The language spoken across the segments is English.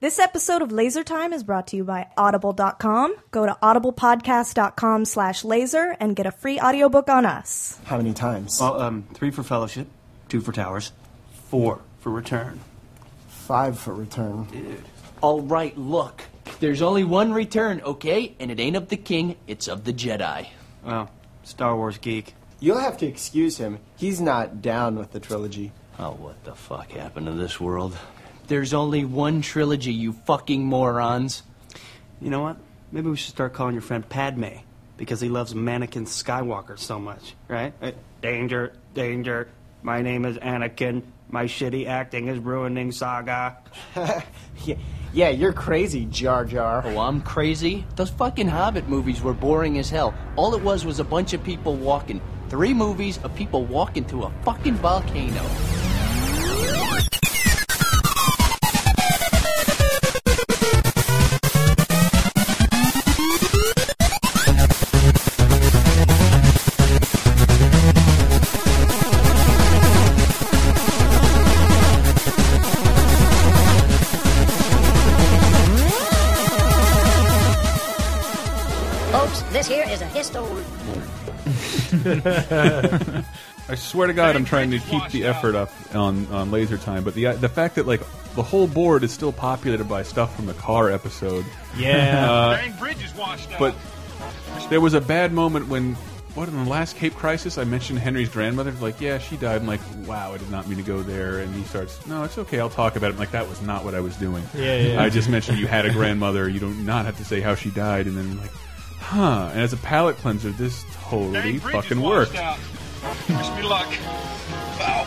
This episode of Laser Time is brought to you by Audible.com. Go to audiblepodcast.com slash laser and get a free audiobook on us. How many times? Well, um, three for fellowship, two for towers, four for return. Five for return. All right, look. There's only one return, okay? And it ain't of the king, it's of the Jedi. Well, Star Wars geek. You'll have to excuse him. He's not down with the trilogy. Oh, what the fuck happened to this world? There's only one trilogy, you fucking morons. You know what? Maybe we should start calling your friend Padme because he loves mannequin Skywalker so much, right? Uh, danger, danger. My name is Anakin. My shitty acting is ruining Saga. Yeah, yeah, you're crazy, Jar Jar. Oh, I'm crazy. Those fucking Hobbit movies were boring as hell. All it was was a bunch of people walking. Three movies of people walking to a fucking volcano. Folks, this here is a histo. I swear to God, I'm trying to keep the effort up on, on laser time, but the the fact that like the whole board is still populated by stuff from the car episode, Yeah. Dang bridge is washed out. but there was a bad moment when what in the last Cape Crisis I mentioned Henry's grandmother, like yeah, she died. I'm like, wow, I did not mean to go there, and he starts, no, it's okay, I'll talk about it. I'm like that was not what I was doing. Yeah, yeah. I just mentioned you had a grandmother. You do not have to say how she died, and then I'm like, huh. And as a palate cleanser, this Dang totally bridge is fucking washed worked. out. Wish me luck. Wow.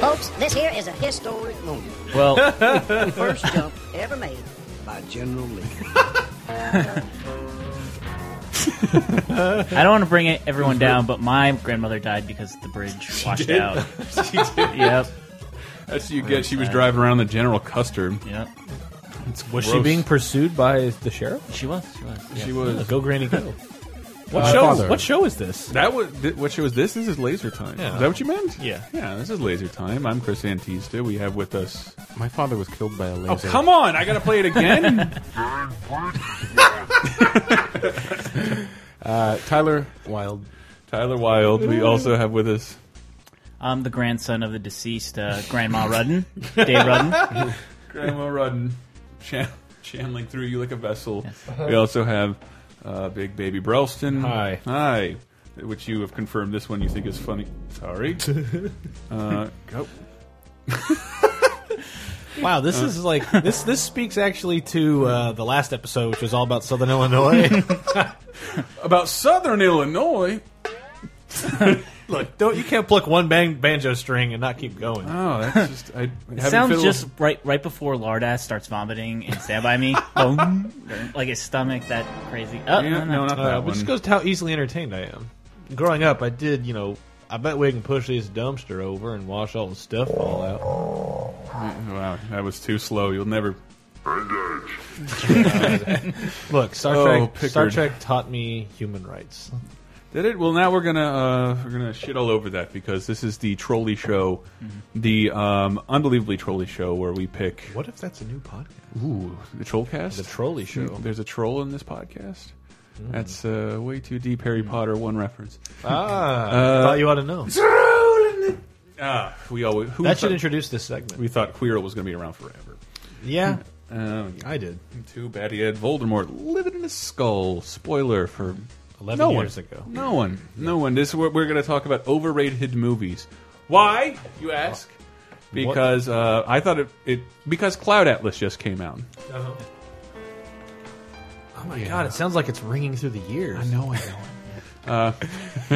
Folks, this here is a historic moment. Well, The first jump ever made by General Lee. I don't want to bring it, everyone down, but my grandmother died because the bridge washed out. Yep. That's what you get. She was driving around the General Custer. Yep. Was she Gross. being pursued by the sheriff? She was. She was. yeah. She was. Go, Granny, go! What Uh, show? father. What show is this? That was th what show is this? This is Laser Time. Yeah. Is that what you meant? Yeah. Yeah, this is Laser Time. I'm Chris Antista. We have with us. My father was killed by a laser. Oh come on! I gotta play it again. Uh, Tyler Wild. Tyler Wilde. We also have with us. I'm the grandson of the deceased uh, Grandma Rudden, Dave Rudden. Grandma Rudden chan- channeling through you like a vessel. We also have uh, Big Baby Brelston. Hi. Hi. Which you have confirmed this one you think is funny. Sorry. uh, go. Wow, this is like this. This speaks actually to uh, the last episode, which was all about Southern Illinois. About Southern Illinois. Look, don't you can't pluck one bang, banjo string and not keep going. Oh, that's just. I haven't Sounds fiddled- just right right before Lardass starts vomiting and Stand By Me. Boom. like his stomach, that crazy. Oh, Yeah, no, no. no, not Uh, that but one. this goes to how easily entertained I am. Growing up, I did, you know, I bet we can push this dumpster over and wash all the stuff all out. Wow, that was too slow. You'll never. Look, Star Oh, Trek. Star Pickard. Trek taught me human rights. Did it? Well, now we're gonna uh, we're gonna shit all over that because this is the trolley show, the um, unbelievably trolley show where we pick What if that's a new podcast? ooh the trollcast, The trolley show. Mm, There's a troll in this podcast. Mm-hmm. That's uh, way too deep. Harry Mm. Potter one reference. Ah, Uh, thought you ought to know. Ah, we always who That should thought- introduce this segment. We thought Quirrell was gonna be around forever. yeah, Oh, I did. too bad he had Voldemort living in his skull. Spoiler for 11 no years one. ago. No one. No one. This is what we're going to talk about overrated movies. Why, you ask? Because uh, I thought it, it. Because Cloud Atlas just came out. Oh my god, it sounds like it's ringing through the years. No, I don't. uh,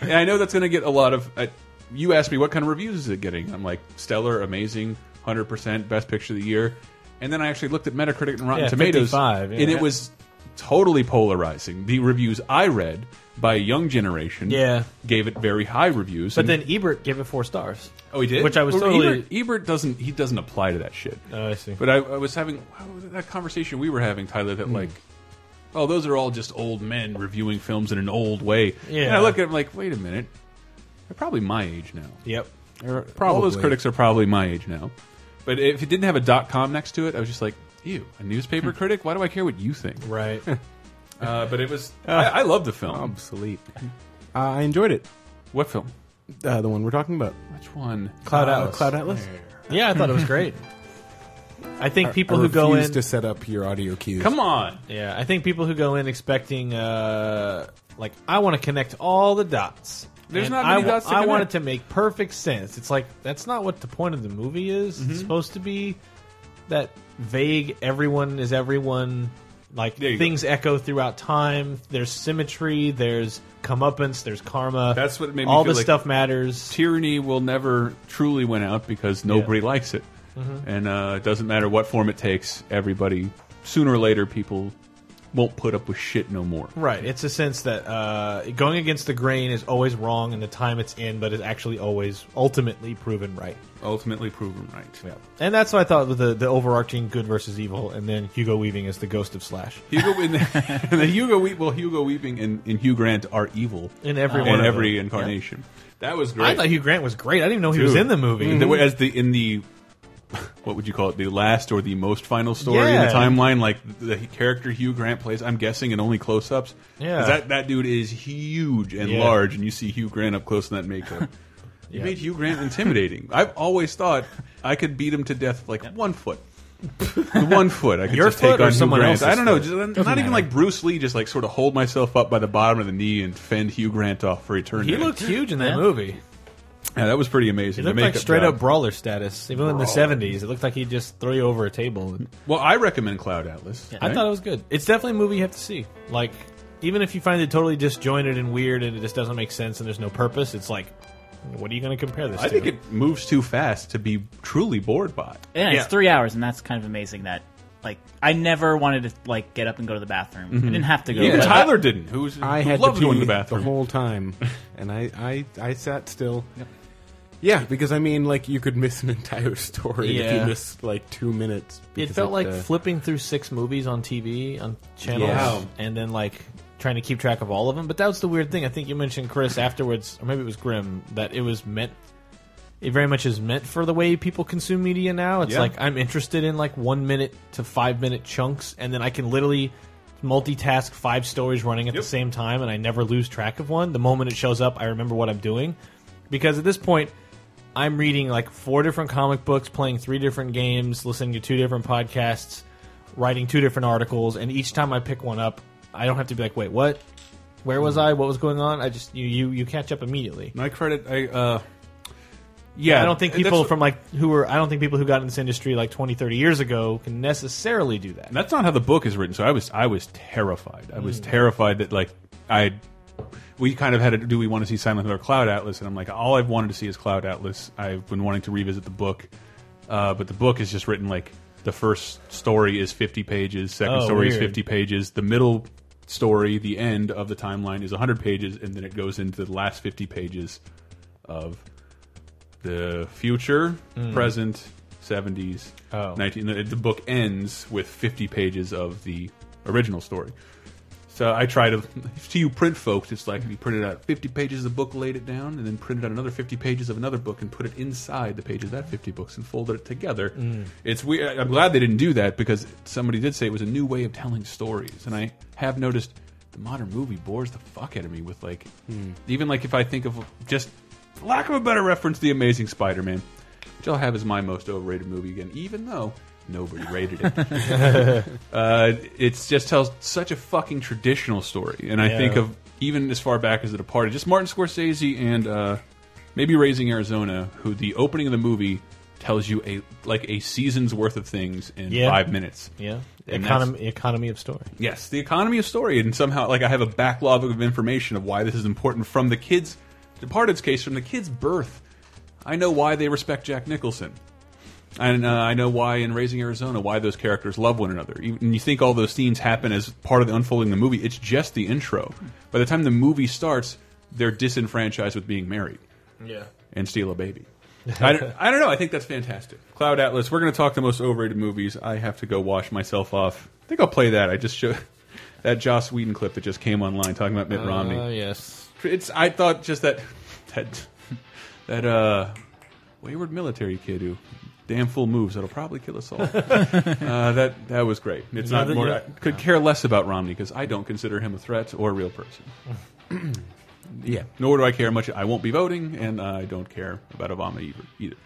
and I know that's going to get a lot of. Uh, you asked me what kind of reviews is it getting. I'm like stellar, amazing, hundred percent, best picture of the year. And then I actually looked at Metacritic and Rotten Yeah, Tomatoes, 55, yeah. and it was totally polarizing. The reviews I read by a young generation, Yeah. gave it very high reviews. But and- then Ebert gave it four stars. oh, he did, Which I was Well, totally. Ebert, Ebert doesn't. He doesn't apply to that shit. Oh, I see. Hmm. But I, I was having wow, that conversation we were having, Tyler, that like, oh, those are all just old men reviewing films in an old way. And Yeah. I look at them like, wait a minute, they're probably my age now. yep. All those critics are probably my age now. But if it didn't have a dot com next to it, I was just like, ew, a newspaper Hmm. critic? Why do I care what you think? Right. Uh, but it was. Ah. I, I love the film. Obsolete. Uh, I enjoyed it. what film? Uh, the one we're talking about. Which one? Cloud Atlas. Cloud Atlas. Yeah, I thought it was great. I think people I who go refuse in to set up your audio cues. Come on. Yeah, I think people who go in expecting uh like I want to connect all the dots. There's And not many I, wa- dots to I want connect. it to make perfect sense. It's like that's not what the point of the movie is. Mm-hmm. It's supposed to be that vague everyone is everyone like There you go. things echo throughout time. There's symmetry, there's comeuppance, there's karma. That's what made me all feel this like- stuff matters. Tyranny will never truly win out because nobody likes it. Mm-hmm. And uh, it doesn't matter what form it takes, everybody, sooner or later, people won't put up with shit no more. Right. It's a sense that uh, going against the grain is always wrong in the time it's in, but is actually always ultimately proven right. Ultimately proven right. Yeah. And that's what I thought with the, the overarching good versus evil, and then Hugo Weaving as the ghost of Slash. Hugo in the, and the Hugo we, well Hugo Weaving and, and Hugh Grant are evil Uh, In every in one of every them. incarnation. That was great. I thought Hugh Grant was great. I didn't even know he was Dude. in the movie. Mm-hmm. And the way- as the in the what would you call it? The last or the most final story in Yeah. the timeline, like the character Hugh Grant plays. I'm guessing in only close-ups. 'Cause Yeah. that that dude is huge and Yeah. large, and you see Hugh Grant up close in that makeup. You made Hugh Grant intimidating. I've always thought I could beat him to death with, like one foot. With one foot, I could Your just foot take or on Hugh someone Grant. else's I don't know, foot? just, uh, not even like Bruce Lee. Just like sort of hold myself up by the bottom of the knee and fend Hugh Grant off for eternity. He looked huge in that Yeah. movie. yeah, that was pretty amazing. He The looked like makeup straight job. up brawler status. Even in the seventies, it looked like he just threw you over a table. Well, I recommend Cloud Atlas. I thought it was good. It's definitely a movie you have to see. Like, even if you find it totally disjointed and weird, and it just doesn't make sense, and there's no purpose, it's like, what are you going to compare this? I to? think it moves too fast to be truly bored by. Yeah, Yeah. it's three hours, and that's kind of amazing. That like I never wanted to like get up and go to the bathroom. I didn't have to go. Even but- Tyler didn't. Who's I who had loves to pee Mm-hmm. going to the bathroom. whole time, and I, I, I sat still. Yeah, because I mean, like you could miss an entire story if Yeah. you missed like two minutes. it because felt of like the- flipping through six movies on TV on channels, Yeah. and then like trying to keep track of all of them. But that was the weird thing. I think you mentioned Chris afterwards, or maybe it was Grim, that it was meant. It very much is meant for the way people consume media now. It's Yeah. like I'm interested in like one minute to five minute chunks, and then I can literally multitask five stories running at Yep. the same time, and I never lose track of one. The moment it shows up, I remember what I'm doing, because at this point, I'm reading like four different comic books, playing three different games, listening to two different podcasts, writing two different articles, and each time I pick one up, I don't have to be like, wait, what? Where was Mm-hmm. I? What was going on? I just you you, you catch up immediately. My credit, I uh, yeah, I don't think and people that's- from like who were I don't think people who got in this industry like 20, 30 years ago can necessarily do that. That's not how the book is written. So I was I was terrified. I Mm. was terrified that like I we kind of had to do we want to see Silent Hill or Cloud Atlas and I'm like all I've wanted to see is Cloud Atlas. I've been wanting to revisit the book. Uh, but the book is just written like the first story is 50 pages, second Oh, story is weird. 50 pages, the middle story, the end of the timeline is 100 pages and then it goes into the last 50 pages of the future, present, 70s, Hmm. Oh. 19. The, the book ends with 50 pages of the original story. So I try to, to you print folks, it's like if you printed out 50 pages of the book, laid it down, and then printed out another 50 pages of another book and put it inside the page of that 50 books and folded it together. It's weird. I'm glad they didn't do that because somebody did say it was a new way of telling stories. And I have noticed the modern movie bores the fuck out of me with like, even like if I think of just, for lack of a better reference, The Amazing Spider Man, which I'll have as my most overrated movie again, even though nobody rated it. Uh, it just tells such a fucking traditional story, and I Yeah. think of even as far back as The Departed, just Martin Scorsese and uh, maybe Raising Arizona, who the opening of the movie tells you a like a season's worth of things in Yeah. five minutes. Yeah, And economy economy of story. Yes, the economy of story, and somehow like I have a backlog of information of why this is important from the kids, Departed's case from the kid's birth. I know why they respect Jack Nicholson, and uh, I know why in Raising Arizona why those characters love one another. You, and you think all those scenes happen as part of the unfolding of the movie? It's just the intro. By the time the movie starts, they're disenfranchised with being married Yeah. and steal a baby. I don't, I don't know. I think that's fantastic. Cloud Atlas. We're going to talk the most overrated movies. I have to go wash myself off. I think I'll play that. I just showed that Joss Whedon clip that just came online talking about Mitt Oh Romney. yes. It's. I thought just that that that uh, wayward military kid who damn fool moves that'll probably kill us all. uh, that that was great. It's Yeah, not that- more. yeah. I could care less about Romney because I don't consider him a threat or a real person. Yeah. Nor do I care much. I won't be voting, and I don't care about Obama either. either.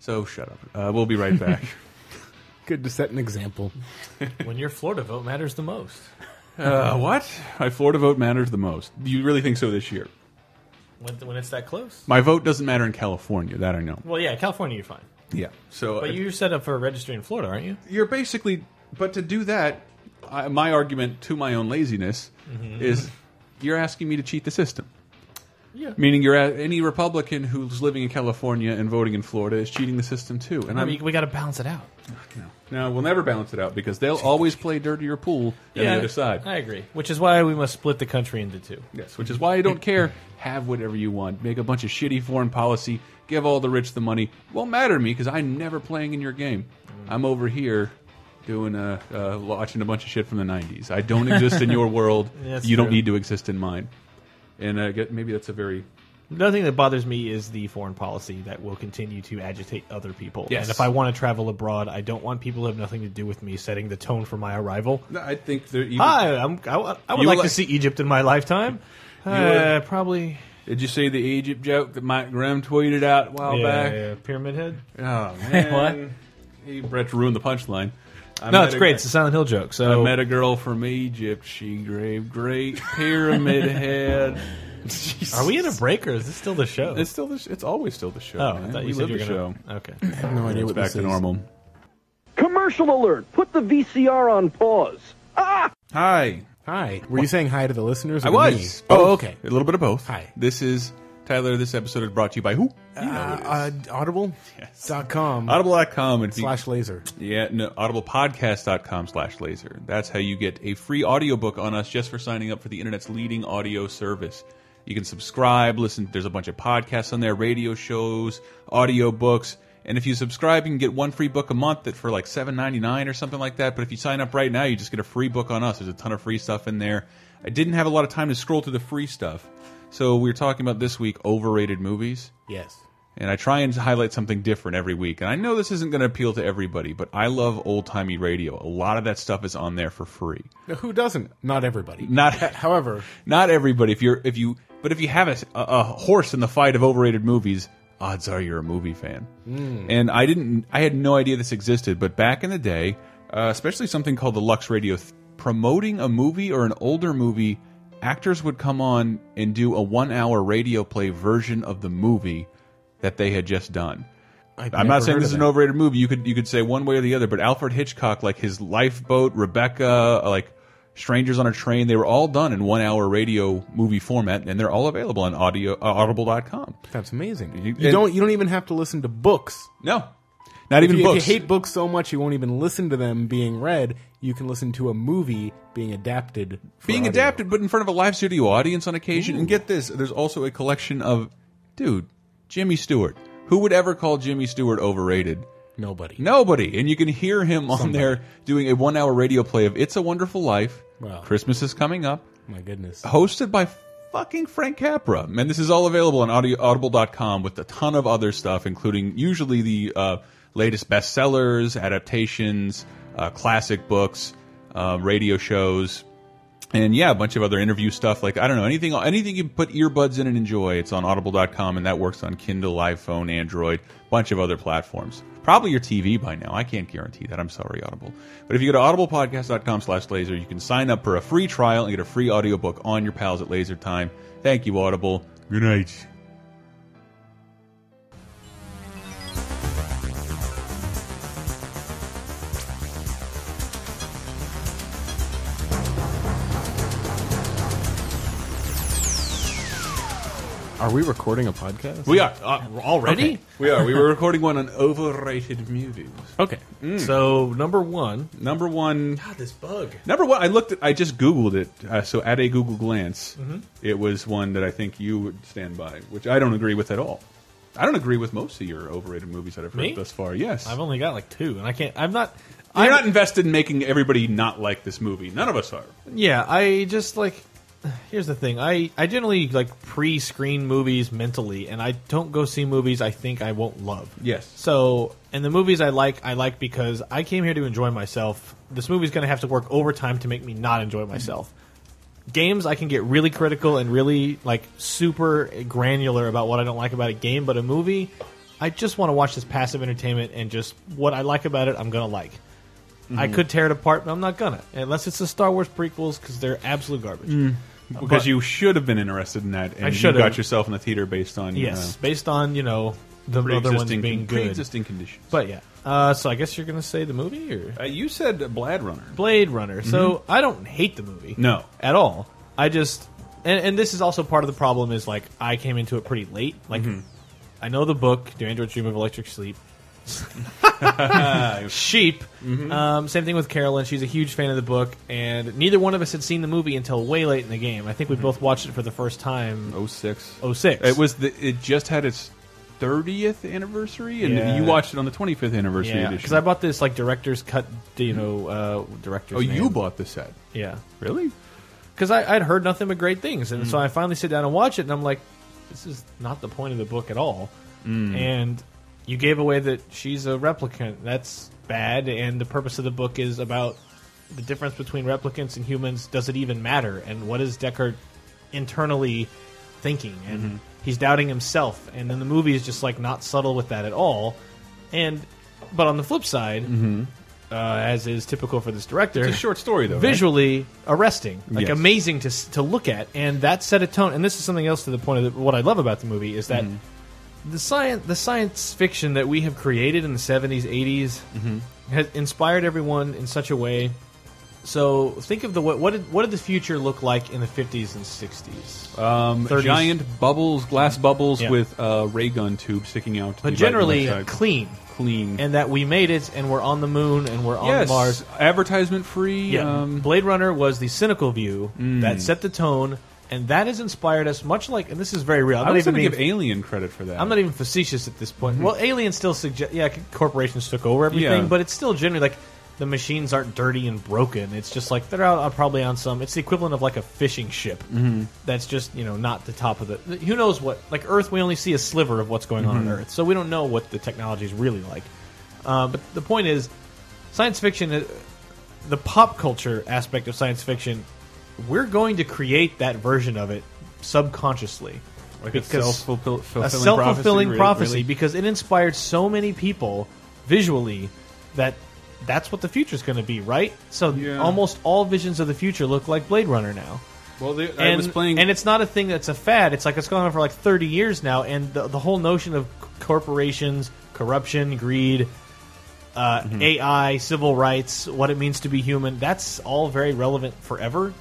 So shut up. Uh, we'll be right back. Good to set an example. when your Florida vote matters the most. uh, what? My Florida vote matters the most. You really think so this year? When, when it's that close. My vote doesn't matter in California. That I know. Well, yeah, California, you're fine. Yeah. So, uh, But you're set up for registering in Florida, aren't you? you're basically but to do that I, my argument to my own laziness Mm-hmm. is you're asking me to cheat the system Yeah. meaning you're a any republican who's living in california and voting in florida is cheating the system too and i'm we, we got to balance it out. now we'll never balance it out because they'll always play dirtier pool on the other side I agree. Which is why we must split the country into two. Yes, which is why I don't care. Have whatever you want. Make a bunch of shitty foreign policy. Give all the rich the money. Won't matter to me because I'm never playing in your game. Mm. I'm over here doing uh, uh, watching a bunch of shit from the '90s. I don't exist in your world. That's you don't true. need to exist in mine. And uh, get- maybe that's a very Another thing that bothers me is the foreign policy that will continue to agitate other people. Yes. And if I want to travel abroad, I don't want people who have nothing to do with me setting the tone for my arrival. I think there. Even, Hi, I'm, I, wa- I would You like like- to see Egypt in my lifetime. Uh, would- probably. Did you see the Egypt joke that Mike Grimm tweeted out a while Yeah, back? yeah, Pyramid Head? Oh man, he Brett ruined the punchline. I No, met it's a great. guy- It's a Silent Hill joke. I So Oh. met a girl from Egypt. She gave great pyramid head. Are we in a break or is this still the show? It's still the. Sh it's always still the show. oh, I man. thought we you said live you were the gonna. show. Okay. No idea It's what back this to is. normal. Commercial alert! Put the VCR on pause. Hi, Hi. Were you saying hi to the listeners? I or was. me? Oh, Both. okay. A little bit of both. Hi. This is Tyler. This episode is brought to you by who? You know it is. Uh, uh, audible. Dot com. Audible.com and Slash laser. yeah, no, audiblepodcast.com slash laser. That's how you get a free audiobook on us just for signing up for the internet's leading audio service. You can subscribe, listen, there's a bunch of podcasts on there, radio shows, audiobooks. And if you subscribe, you can get one free book a month that for like seven ninety nine or something like that. But if you sign up right now, you just get a free book on us. There's a ton of free stuff in there. I didn't have a lot of time to scroll through the free stuff. So we were talking about this week overrated movies. Yes. And I try and highlight something different every week. And I know this isn't going to appeal to everybody, but I love old timey radio. A lot of that stuff is on there for free. Now, who doesn't? Not everybody. Not- However, Not everybody. If you're, if you, but if you have a, a horse in the fight of overrated movies, odds are you're a movie fan. And I didn't, I had no idea this existed. But back in the day, uh, especially something called the Lux Radio, th promoting a movie or an older movie, actors would come on and do a one-hour radio play version of the movie that they had just done. I've I'm never not saying heard this is an of that. overrated movie. You could you could say one way or the other, but Alfred Hitchcock, like his Lifeboat, Rebecca, uh, like Strangers on a Train, they were all done in one hour radio movie format, and they're all available on audio uh, audible.com. That's amazing. You, and- don't. You don't even have to listen to books. No, not even if you, books. If you hate books so much you won't even listen to them being read, you can listen to a movie being adapted. for being audio. adapted, but in front of a live studio audience on occasion. And get this, there's also a collection of, dude, Jimmy Stewart. Who would ever call Jimmy Stewart overrated? Nobody. Nobody. And you can hear him on there doing a one hour radio play of It's a Wonderful Life. Wow. Christmas is coming up. My goodness. hosted by fucking Frank Capra. And this is all available on audio, audible.com with a ton of other stuff, including usually the uh, latest bestsellers, adaptations, uh, classic books, uh, radio shows. And yeah, a bunch of other interview stuff. Like I don't know anything. Anything you put earbuds in and enjoy. It's on Audible.com, and that works on Kindle, iPhone, Android, bunch of other platforms. Probably your TV by now. I can't guarantee that. I'm sorry, Audible. But if you go to audiblepodcast.com/laser, you can sign up for a free trial and get a free audiobook on your pals at Laser Time. Thank you, Audible. Good night. Are we recording a podcast? We are uh, Already? we are. We were recording one on overrated movies. Okay. Mm. So number one. Number one. God, this bug. Number one, I looked at, I just Googled it. Uh, so at a Google glance, Mm-hmm. it was one that I think you would stand by, which I don't agree with at all. I don't agree with most of your overrated movies that I've heard Me? thus far. Yes. I've only got like two, and I can't. I'm not. I'm I'm- not invested in making everybody not like this movie. None of us are. Yeah, I just like here's the thing. I I generally like pre-screen movies mentally, and I don't go see movies I think I won't love. Yes. So, and the movies I like, I like because I came here to enjoy myself. This movie's going to have to work overtime to make me not enjoy myself. Games, I can get really critical and really like super granular about what I don't like about a game, but a movie, I just want to watch this passive entertainment and just what I like about it, I'm going to like. I Mhm. could tear it apart, but I'm not gonna unless it's the Star Wars prequels because they're absolute garbage. Because But- you should have been interested in that, and I you should got have. yourself in the theater based on yes, based on you know the other ones Pre-existing- being good, pre-existing conditions. But yeah, uh, so I guess you're gonna say the movie or Uh, you said Blade Runner. Blade Runner. Mhm. So I don't hate the movie, No. at all. I just and, and this is also part of the problem is like I came into it pretty late. Like I know the book, Do Androids Dream of Electric Sleep? Sheep. Um, same thing with Carolyn. She's a huge fan of the book, and neither one of us had seen the movie until way late in the game. I think we both watched it for the first time. Oh six. Oh six. It was the, it just had its thirtieth anniversary, and Yeah. you watched it on the twenty fifth anniversary Yeah, because edition. I bought this like director's cut, you know, uh, director's. oh, you name. bought the set. Yeah. Really? Because I'd heard nothing but great things. And so I finally sit down and watch it, and I'm like, this is not the point of the book at all. Mm. And you gave away that she's a replicant. That's bad. And the purpose of the book is about the difference between replicants and humans. Does it even matter? And what is Deckard internally thinking? And Mhm. he's doubting himself. And then the movie is just like not subtle with that at all. And but on the flip side, Mhm. uh, as is typical for this director, It's a short story, though, right? Visually arresting, like Yes. amazing to s- to look at, and that set a tone. And this is something else to the point of the, what I love about the movie is that Mm-hmm. the science the science fiction that we have created in the 70s 80s Mm-hmm. has inspired everyone in such a way so think of the what, what did what did the future look like in the 50s and 60s Um, 30s. giant bubbles, glass bubbles Yeah. with uh, ray gun tube sticking out. to the but right and generally left side. clean clean and that we made it and we're on the moon and we're on Yes, Mars advertisement free. yeah. Um, Blade Runner was the cynical view Mm. that set the tone and that has inspired us much like and this is very real I'm I not was even going to give being- Alien credit for that. I'm not even facetious at this point. Mhm. Well, Alien still suggest yeah, c- corporations took over everything, Yeah. but it's still generally like the machines aren't dirty and broken. It's just like they're out, uh, probably on some. It's the equivalent of like a fishing ship Mhm. that's just you know not the top of the. th- Who knows what? Like Earth, we only see a sliver of what's going on on Mhm. Earth, so we don't know what the technology is really like. Uh, but the point is, science fiction, uh, the pop culture aspect of science fiction, we're going to create that version of it subconsciously. Like a self-fulfill- fulfilling a self-fulfilling prophecy, really- prophecy really? because it inspired so many people visually that that's what the future's going to be, right? So almost all visions of the future look like Blade Runner now. Well, the, And, I was playing. and it's not a thing that's a fad. It's like it's gone on for like 30 years now, and the, the whole notion of c- corporations, corruption, greed, uh, AI, civil rights, what it means to be human, that's all very relevant forever.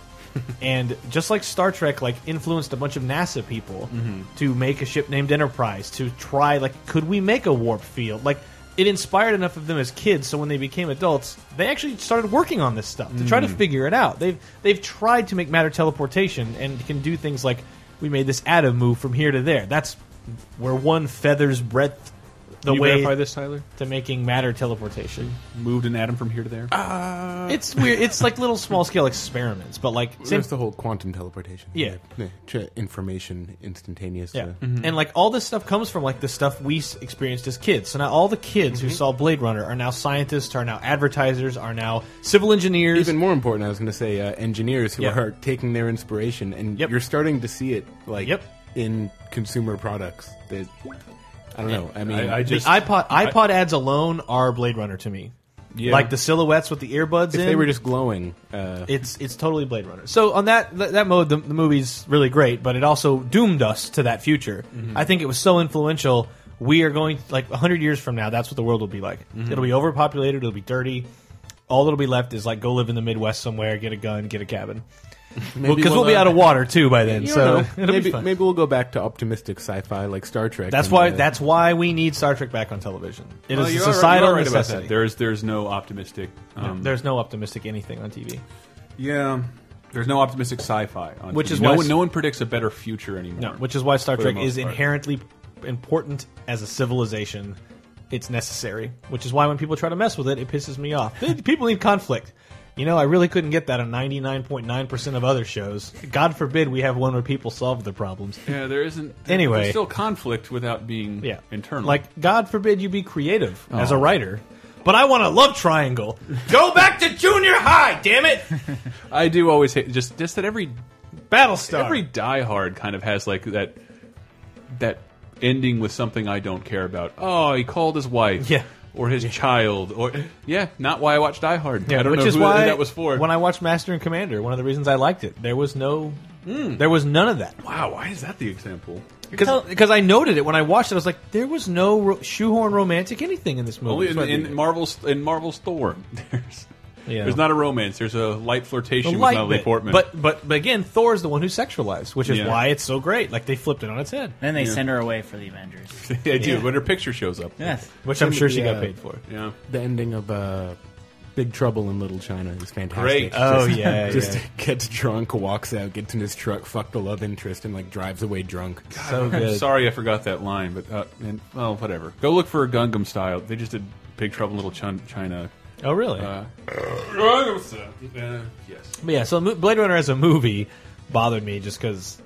and just like Star Trek, like influenced a bunch of NASA people Mhm. to make a ship named Enterprise, to try like could we make a warp field? Like it inspired enough of them as kids, so when they became adults, they actually started working on this stuff to try to Mm. figure it out. They've they've tried to make matter teleportation and can do things like we made this atom move from here to there. That's where one feather's breadth the Can you way verify this, Tyler? to making matter teleportation. Moved an atom from here to there. Ah, It's weird. It's like little small scale experiments, but like same- There's the whole quantum teleportation. Yeah. To information instantaneous. Yeah. Mm-hmm. to- And like all this stuff comes from like the stuff we s- experienced as kids. So now all the kids Mm-hmm. who saw Blade Runner are now scientists, are now advertisers, are now civil engineers. Even more important, I was going to say uh, engineers who Yeah. are taking their inspiration, and you're starting to see it like in consumer products. That I don't know. I mean, the iPod iPod ads alone are Blade Runner to me. Yeah. Like the silhouettes with the earbuds If in. they were just glowing. Uh, it's it's totally Blade Runner. So on that th- that mode, the, the movie's really great, but it also doomed us to that future. Mhm. I think it was so influential. We are going like hundred years from now. That's what the world will be like. Mhm. It'll be overpopulated. It'll be dirty. All that'll be left is like go live in the Midwest somewhere, get a gun, get a cabin. Because Maybe we'll, be uh, out of water too by then. you So don't know. it'll maybe be fun. maybe we'll go back to optimistic sci-fi like Star Trek. That's and, why. uh, That's why we need Star Trek back on television. It is Well, a you're all right- societal you're all right about necessity. that. There's there's no optimistic. Um, There's no optimistic anything on TV. yeah. There's no optimistic sci-fi. On Which TV. is no why- one, no one predicts a better future anymore. No, which is why Star For the Trek most is part. inherently important as a civilization. It's necessary, which is why when people try to mess with it, it pisses me off. People need conflict. You know, I really couldn't get that on 99.9% of other shows. God forbid we have one where people solve their problems. Yeah, there isn't. Anyway. there's still conflict without being Yeah. internal. Like, God forbid you be creative as a Oh. writer. But I want a love triangle. Go back to junior high, damn it! I do always hate just just that every Battlestar, every Die Hard kind of has like that that ending with something I don't care about. Oh, he called his wife, Yeah. or his child, or yeah, not why I watched Die Hard. I don't which know is who why that was for. When I watched Master and Commander, one of the reasons I liked it, there was no, there was none of that. wow, why is that the example? Because I noted it when I watched it, I was like, there was no ro- shoehorn romantic anything in this Only movie. in, in Marvel's in Marvel's Thor, there's Yeah. there's not a romance. There's a light The flirtation light with Natalie bit. Portman. But, but but again, Thor's the one who sexualized, which is Yeah. why it's so great. Like they flipped it on its head. Then they Yeah. send her away for the Avengers. I do Yeah. when her picture shows up. Yes. Which I'm sure she The, got uh, paid for. Yeah. The ending of uh, Big Trouble in Little China is fantastic. Great. Oh, yeah, just yeah. gets drunk, walks out, gets in his truck, fuck the love interest, and like drives away drunk. I'm So Oh, good. sorry I forgot that line, but uh, and, well, whatever. Go look for a Gungam style. They just did Big Trouble in Little Chun- China. Oh really? Uh, Gungam style. Uh, yes. But yeah, so Mo- Blade Runner as a movie bothered me just because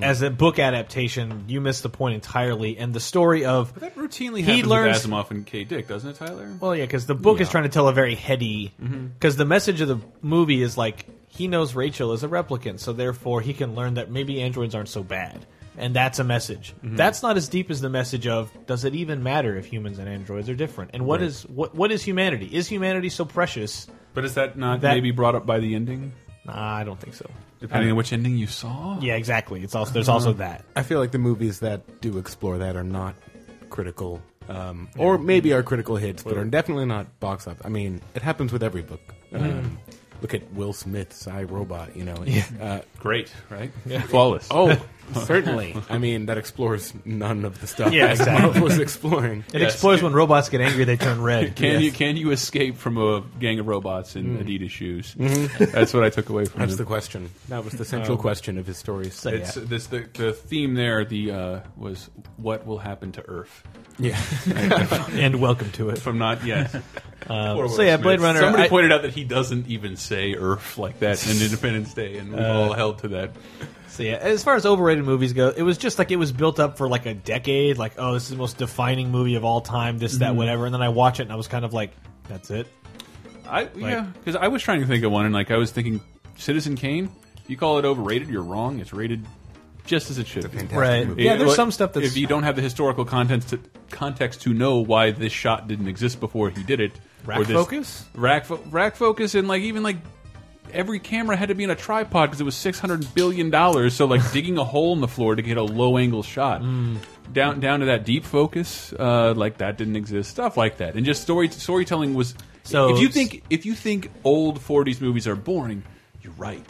as a book adaptation, you missed the point entirely. And the story of But that routinely he happens learns. with Asimov and K. Dick, doesn't it, Tyler? Well, yeah, because the book is trying to tell a very heady. Because the message of the movie is like he knows Rachel is a replicant, so therefore he can learn that maybe androids aren't so bad. And that's a message. That's not as deep as the message of does it even matter if humans and androids are different? And what Right. is what what is humanity? Is humanity so precious? But is that not That- maybe brought up by the ending? Nah, I don't think so. Depending on which ending you saw? Yeah, exactly. It's also there's also that. I feel like the movies that do explore that are not critical, um, or maybe are critical hits, but are definitely not box office. I mean, it happens with every book. Mm-hmm. Um, look at Will Smith's I Robot. You know, it's, uh, Great, right? Flawless. oh, certainly. I mean, that explores none of the stuff Yeah, that exactly. Marvel was exploring. It explores when robots get angry, they turn red. Can you can you escape from a gang of robots in Mm. Adidas shoes? Mm-hmm. That's what I took away from That's it. the question. That was the central question of his stories. It's, this, the, the theme there the uh, was what will happen to Earth yeah. and welcome to it. from not yet. Poor Uh, so Will yeah, Smith. Blade Runner, Somebody I- pointed out that he doesn't even say Earth like that in Independence Day, and we Uh, all held to that. So yeah, as far as overrated movies go, it was just like it was built up for like a decade. Like, oh, this is the most defining movie of all time. This, that, whatever. And then I watch it, and I was kind of like, that's it. I yeah, because I was trying to think of one, and like I was thinking Citizen Kane. You call it overrated? You're wrong. It's rated just as it should be. Right. Yeah, It- there's well, some stuff that's if you don't have the historical context to, context to know why this shot didn't exist before he did it. Rack or this- focus? rack fo rack focus, and like even like every camera had to be in a tripod because it was six hundred billion dollars. So like digging a hole in the floor to get a low angle shot. Hmm. Down, down to that deep focus, uh, like that didn't exist. Stuff like that, and just story storytelling was. So- if you think if you think old '40s movies are boring, you're right.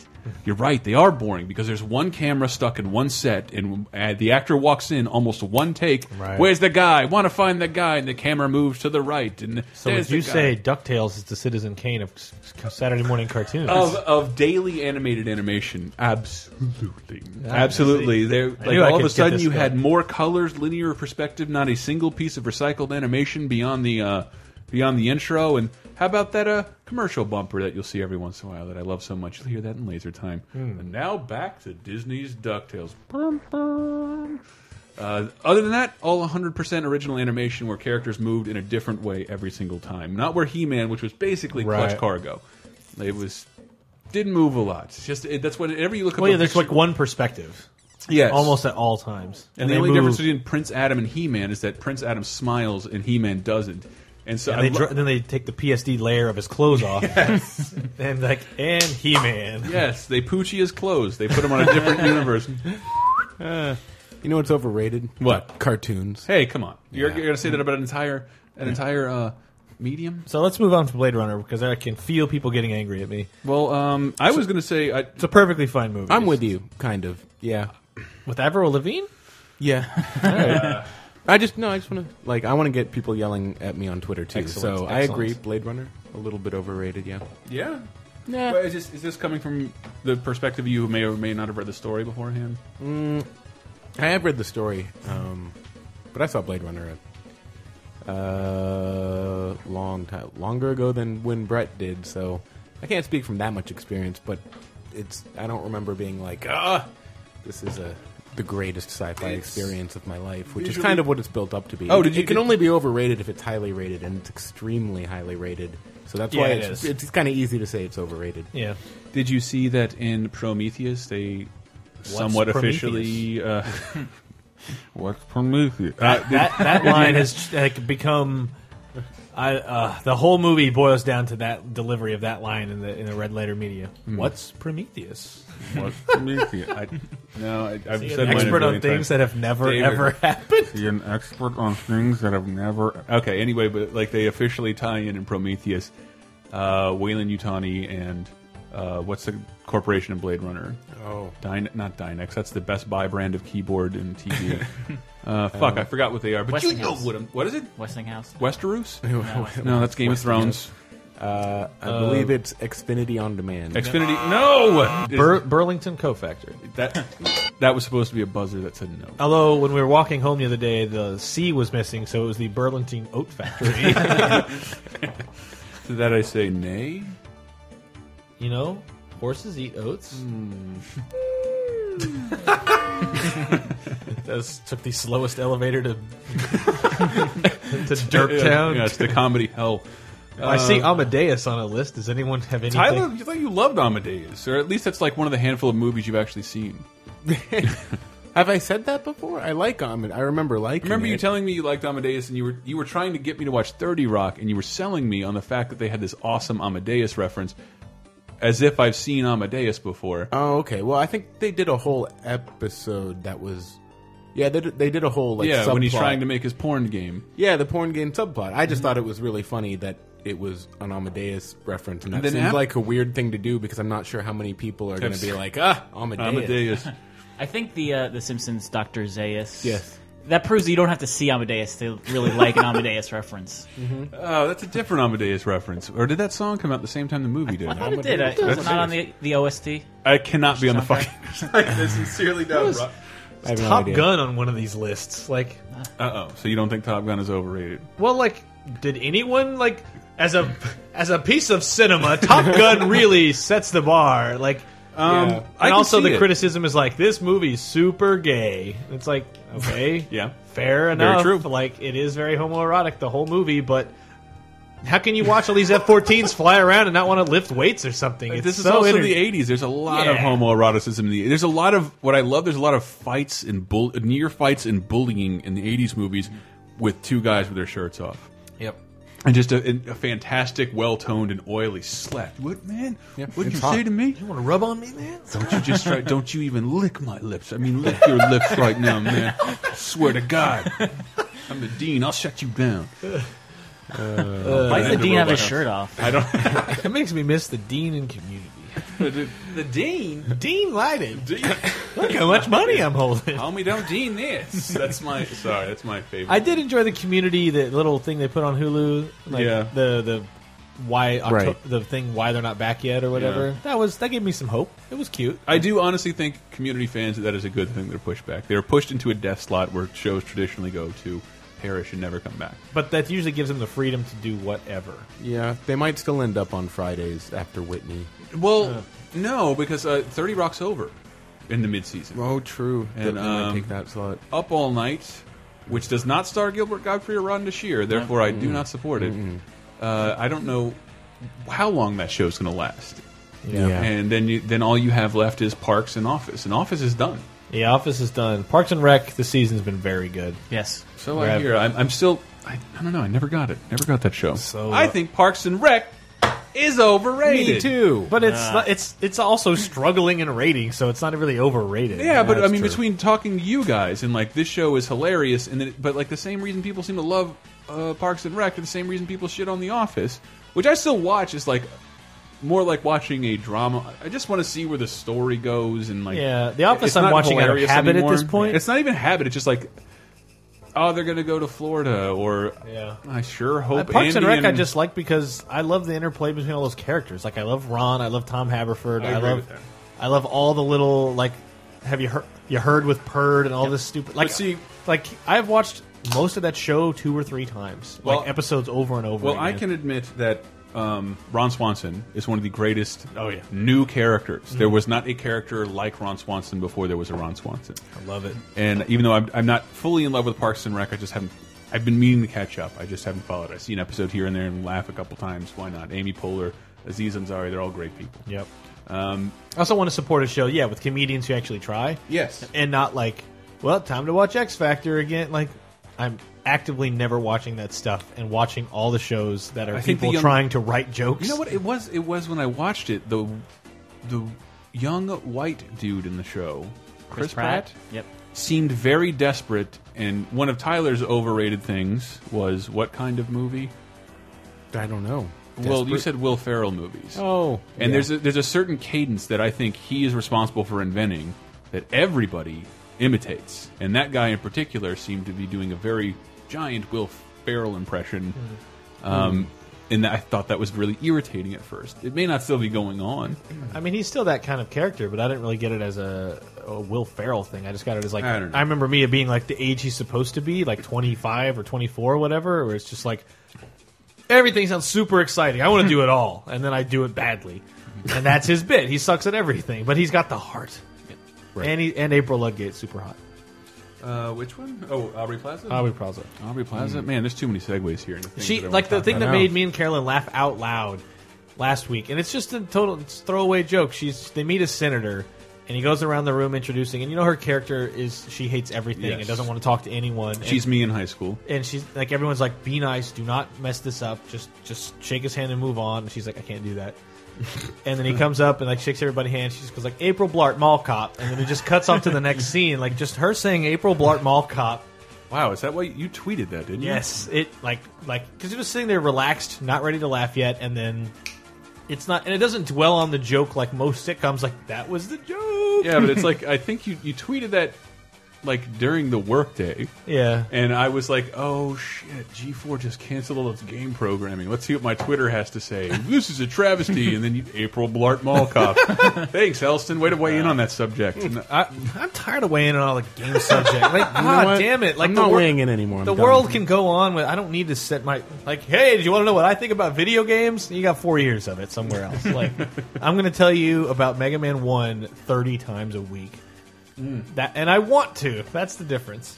You're right. They are boring because there's one camera stuck in one set, and uh, the actor walks in almost one take. Right. Where's the guy? Want to find the guy, and the camera moves to the right. And so there's as you the guy. say, Ducktales is the Citizen Kane of s- s- Saturday morning cartoons. of of daily animated animation, absolutely, absolutely. They like knew I all of could a get sudden this you guy. had more colors, linear perspective, not a single piece of recycled animation beyond the uh, beyond the intro. And how about that uh, commercial bumper that you'll see every once in a while that I love so much? You'll hear that in Laser Time. Hmm. And now back to Disney's Ducktales. Bum, bum. Uh, other than that, all 100% original animation where characters moved in a different way every single time. Not where He-Man, which was basically Right. clutch cargo. It was didn't move a lot. It's just it, that's whenever you look. well, up yeah, a there's picture, like one perspective, yes, almost at all times. And the they only move- difference between Prince Adam and He Man is that Prince Adam smiles and He Man doesn't. And so and I they lo- dr- then they take the PSD layer of his clothes off, and like, and He Man. yes, they poochie his clothes. They put him on a different universe. You know what's overrated? What? Cartoons. Hey, come on! You're, Yeah. you're gonna say that about an entire an entire uh, medium? So let's move on from Blade Runner because I can feel people getting angry at me. Well, um, I was gonna say I, It's a perfectly fine movie. I'm with you, kind of. Yeah. with Avril Lavigne. Yeah. I just no. I just want to like. I want to get people yelling at me on Twitter too. Excellent, so I excellent. agree. Blade Runner a little bit overrated. Yeah. yeah. But is this, is this coming from the perspective of you who may or may not have read the story beforehand? I have read the story, um, but I saw Blade Runner a uh, long time longer ago than when Brett did. So I can't speak from that much experience, but it's I don't remember being like, ah, this is a the greatest sci-fi It's experience of my life, which is visually- kind of what it's built up to be. Oh, did you- It can did- only be overrated if it's highly rated, and it's extremely highly rated. So that's Yeah, why it it's, is. it's kind of easy to say it's overrated. Yeah. Did you see that in Prometheus they somewhat Prometheus? officially? Uh, What's Prometheus? Uh, did- that that line has like, become. I, uh, the whole movie boils down to that delivery of that line in the in the red letter media. Mm. What's Prometheus? What's Prometheus? I, no, I, I've So said you're mine an a expert on billion things times. that have never, ever happened. You're an expert on things that have never. Okay, anyway, but like they officially tie in in Prometheus, uh, Wayland Utani and uh, what's the corporation in Blade Runner? Oh. Dyn not Dynex. That's the Best Buy brand of keyboard and TV. uh, fuck, Oh. I forgot what they are. But you know Westinghouse. what? I'm- What is it? Westinghouse. Westeros? No. no, that's Game of Thrones. Uh, I Uh, believe it's Xfinity on demand. Xfinity. No, Bur- Burlington Co-Factor. That that was supposed to be a buzzer that said no. Although when we were walking home the other day, the C was missing, so it was the Burlington Oat Factory. to that I say nay. you know, horses eat oats. That's took the slowest elevator to to Derp Yeah, Town. Yeah, it's the comedy hell. I see Uh, Amadeus on a list. Does anyone have anything? Tyler, you thought you loved Amadeus, or at least that's like one of the handful of movies you've actually seen. Have I said that before? I like Ahmed. I remember liking. Remember you it. telling me you liked Amadeus, and you were you were trying to get me to watch Thirty Rock, and you were selling me on the fact that they had this awesome Amadeus reference, as if I've seen Amadeus before. Oh, okay. Well, I think they did a whole episode that was. Yeah, they did, they did a whole like yeah, when he's subplot. trying to Mm-hmm. make his porn game, Yeah, the porn game subplot. I just thought it was really funny that it was an Amadeus reference, and that And then seems Am- like a weird thing to do because I'm not sure how many people are going to be like, ah, Amadeus. I think the uh, the Simpsons Doctor Zayas. Yes. That proves that you don't have to see Amadeus to really like an Amadeus reference. Oh, that's a different Amadeus reference. Or did that song come out the same time the movie did? I thought it did. I, was it not on the, the OST. I cannot be on the Soundtrack? fucking. I sincerely What doubt. is- Rock- I have no Top idea. Gun on one of these lists. Like, Uh oh. So you don't think Top Gun is overrated? well, like, did anyone like as a as a piece of cinema? Top Gun really sets the bar. Like, um, Yeah. I and can also see the it. criticism is like this movie's super gay. It's like okay, Yeah. fair Very enough. true. Like, it is very homoerotic the whole movie, but. How can you watch all these F-14s fly around and not want to lift weights or something? It's this is so also inter- the '80s. There's a lot of Yeah. homoeroticism. In the, there's a lot of what I love. There's a lot of fights and bull, near fights and bullying in the '80s movies with two guys with their shirts off. Yep. And just a, a fantastic, well toned and oily slap. What man? What'd you it's hot. say to me? You want to rub on me, man? Don't you just try? Don't you even lick my lips? I mean, lick your lips right now, man. Swear to God, I'm the dean. I'll shut you down. Why does the Uh, dean have his robot. shirt off? I don't. It makes me miss the dean in community. the dean. Dean Leiden. Look how much money I'm holding. Homie, don't dean this. That's my. Sorry, that's my favorite. I did enjoy the community, the little thing they put on Hulu. Like Yeah. The the why Octo- Right. the thing why they're not back yet or whatever. Yeah. That was that gave me some hope. It was cute. I do honestly think community fans that is a good thing. They're pushed back. They're pushed into a death slot where shows traditionally go to perish and never come back. But that usually gives them the freedom to do whatever. Yeah, they might still end up on Fridays after Whitney. Well, no, because uh, Thirty Rock's over in the midseason. Oh, true. They- And, they might um, take that slot. Up all night, which does not star Gilbert Godfrey or Ron Shear. Therefore, I do not support it. Uh, I don't know how long that show's going to last. Yeah. Yeah. And then you, then all you have left is Parks and Office, and Office is done. Yeah, Office is done. Parks and Rec this season's been very good. Yes. So I Right. hear. I'm, I'm still. I, I don't know. I never got it. Never got that show. So, I uh, think Parks and Rec is overrated. Me too. But it's not, it's it's also struggling in ratings, so it's not really overrated. Yeah, but I That's mean, true. between talking to you guys and like this show is hilarious, and then but like the same reason people seem to love uh, Parks and Rec, are the same reason people shit on The Office, which I still watch is like more like watching a drama. I just want to see where the story goes and like Yeah, The Office it's I'm not watching out of hilarious habit at anymore. this point. It's not even habit. It's just like. Oh, they're gonna go to Florida, or Yeah. I sure Uh, hope Parks and Andy Rec, I just like because I love the interplay between all those characters. Like I love Ron, I love Tom Haverford, I I, agree love, with that. I love all the little like, have you heard you heard with Purd and all this stupid like But see- like I've watched most of that show two or three times, Well- like episodes over and over. Well, I again. can admit that um, Ron Swanson is one of the greatest oh, yeah. new characters. There Mm-hmm. was not a character like Ron Swanson before there was a Ron Swanson. I love it. And even though I'm, I'm not fully in love with Parks and Rec, I just haven't. I've been meaning to catch up. I just haven't followed. I see an episode here and there and laugh a couple times. Why not? Amy Poehler, Aziz Ansari, they're all great people. Yep. Um, I also want to support a show, yeah, with comedians who actually try. Yes. And not like, well, time to watch X Factor again. Like, I'm actively never watching that stuff and watching all the shows that are I think the people young- trying to write jokes. You know what it was? It was when I watched it the the young white dude in the show, Chris, Pratt, Yep. seemed very desperate. And one of Tyler's overrated things was what kind of movie? I don't know. Well, you Desperate? said Will Ferrell movies. Oh, and yeah. there's a, there's a certain cadence that I think he is responsible for inventing that everybody imitates, and that guy in particular seemed to be doing a very giant Will Ferrell impression. Um, and I thought that was really irritating at first. It may not still be going on. I mean, he's still that kind of character, but I didn't really get it as a, a Will Ferrell thing. I just got it as like I don't know. remember me being like the age he's supposed to be, like twenty five or twenty four or whatever. Where it's just like everything sounds super exciting. I want to do it all, and then I do it badly, and that's his bit. He sucks at everything, but he's got the heart. Right. And he, and April Ludgate's super hot. Uh, which one? Oh, Aubrey Plaza. Mm. Aubrey Plaza. Aubrey Plaza. Man, there's too many segues here. into things She that I like wanna the talk thing about. that made me and Carolyn laugh out loud last week, and it's just a total it's a throwaway joke. She's they meet a senator, and he goes around the room introducing, and you know her character is she hates everything Yes. and doesn't want to talk to anyone. and- She's me in high school. and she's like everyone's like be nice do not mess this up just just shake his hand and move on and she's like i can't do that and then he comes up and like shakes everybody's hand she just goes like april blart mall cop and then it just cuts off to the next scene like just her saying april blart mall cop Wow, is that why you tweeted that? Didn't you? yes it like like because he was sitting there relaxed not ready to laugh yet and then it's not and it doesn't dwell on the joke like most sitcoms like that was the joke Yeah, but it's like I think you you tweeted that like during the workday. yeah And I was like, "Oh shit! G4 just canceled all its game programming. Let's see what my Twitter has to say. This is a travesty." and then you, April Blart Mall Cop. Thanks, Elston. Way to weigh in on that subject. And Hmm. I, I'm tired of weighing in on all the game subject. know Like, ah, what? damn it! Like, I'm the not wor- weighing in anymore. I'm the done. world can go on with. I don't need to set my like. Hey, do you want to know what I think about video games? You got four years of it somewhere else. Like, I'm going to tell you about Mega Man One 30 times a week. Mm. That and I want to. That's the difference.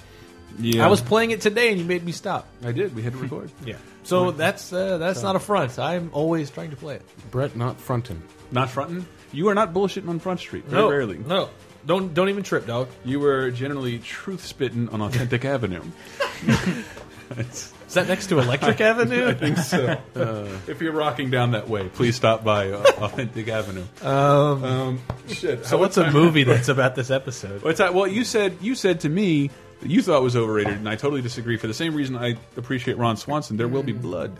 yeah, I was playing it today, and you made me stop. I did. We had to record. Yeah. So that's uh, that's not a front. I'm always trying to play it. Brett not frontin'. Not fronting. You are not bullshitting on Front Street. Very rarely. no. Don't don't even trip, dog. You were generally truth spitting on Authentic Avenue. Is that next to Electric Avenue? So, if you're rocking down that way, please stop by uh, Authentic Avenue. Um, shit. So what's a movie that's about this episode? What's that? Well, you said you said to me that you thought it was overrated, and I totally disagree. For the same reason, I appreciate Ron Swanson. There will Mm-hmm. be blood.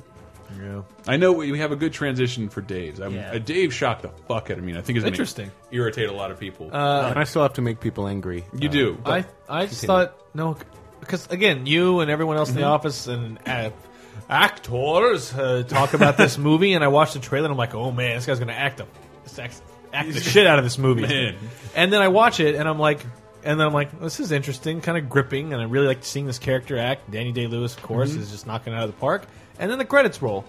Yeah. I know we we have a good transition for Dave's. I'm, Yeah. uh, Dave shocked the fuck out of me. and I think it's gonna Interesting. Uh, Irritate a lot of people. I still have to make people angry. you Uh, do. I I just thought no, because again, you and everyone else in Mm-hmm. the office and uh, actors uh, talk about this movie, and I watched the trailer, and I'm like, oh man, this guy's gonna act the sex, act the shit out of this movie. Man. And then I watch it, and I'm like. And then I'm like, this is interesting, kind of gripping, and I really like seeing this character act. Danny Day Lewis, of course, Mm-hmm. is just knocking it out of the park. And then the credits roll,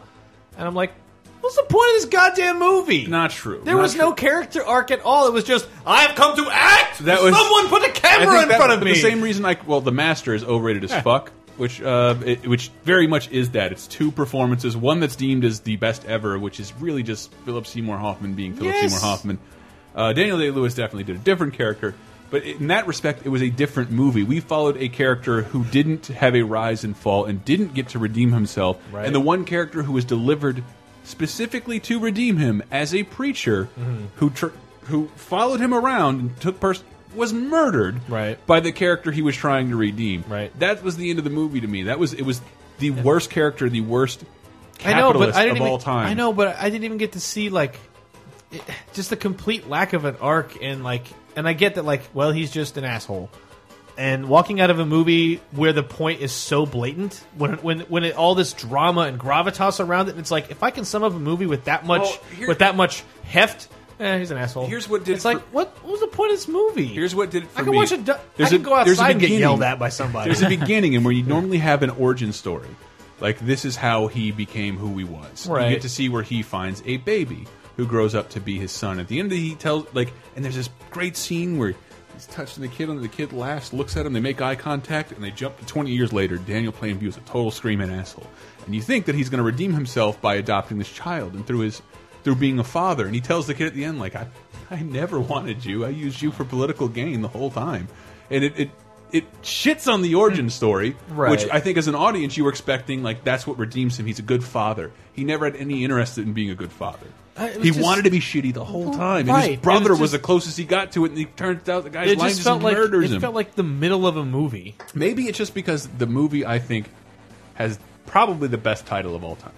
and I'm like, what's the point of this goddamn movie? Not true. There Not was no character arc at all. It was just I have come to act. That was- someone put a I camera think in that's front of for me. The same reason I well, the master is overrated as fuck, which uh, it, which very much is that. It's two performances, one that's deemed as the best ever, which is really just Philip Seymour Hoffman being Philip Yes. Seymour Hoffman. Uh, Daniel Day Lewis definitely did a different character, but in that respect, it was a different movie. We followed a character who didn't have a rise and fall and didn't get to redeem himself, Right. and the one character who was delivered specifically to redeem him as a preacher Mm-hmm. who tr who followed him around and took pers was murdered Right. by the character he was trying to redeem. Right. That was the end of the movie to me. That was it was the worst character, the worst I know, capitalist but I didn't of even, all time. I know, but I didn't even get to see like it- just the complete lack of an arc and like and I get that like well he's just an asshole. And walking out of a movie where the point is so blatant, when when when it, all this drama and gravitas around it, and it's like if I can sum up a movie with that much Well, here- with that much heft, eh, he's an asshole. Here's what did it's like. for- What, what was the point of this movie? Here's what did it for I can me. watch a. du- I There's can go there's a outside and get beginning. yelled at by somebody. There's a beginning, and where you normally have an origin story, Like this is how he became who he was. Right. You get to see where he finds a baby who grows up to be his son. At the end, he tells like, and there's this great scene where he's touching the kid, and the kid laughs, looks at him, they make eye contact, and they jump to 20 years later. Daniel Plainview is a total screaming asshole, and you think that he's going to redeem himself by adopting this child and through his through being a father. And he tells the kid at the end, like, I, I never wanted you. I used you for political gain the whole time. And it, it, it shits on the origin story, Right. which I think as an audience you were expecting, like, that's what redeems him. He's a good father. He never had any interest in being a good father. I- Uh, it was He just- wanted to be shitty the whole time. And Right. his brother It was was just- the closest he got to it, and he turns out the guy's It lying just felt like murders it him. felt like the middle of a movie. Maybe it's just because the movie I think has probably the best title of all time.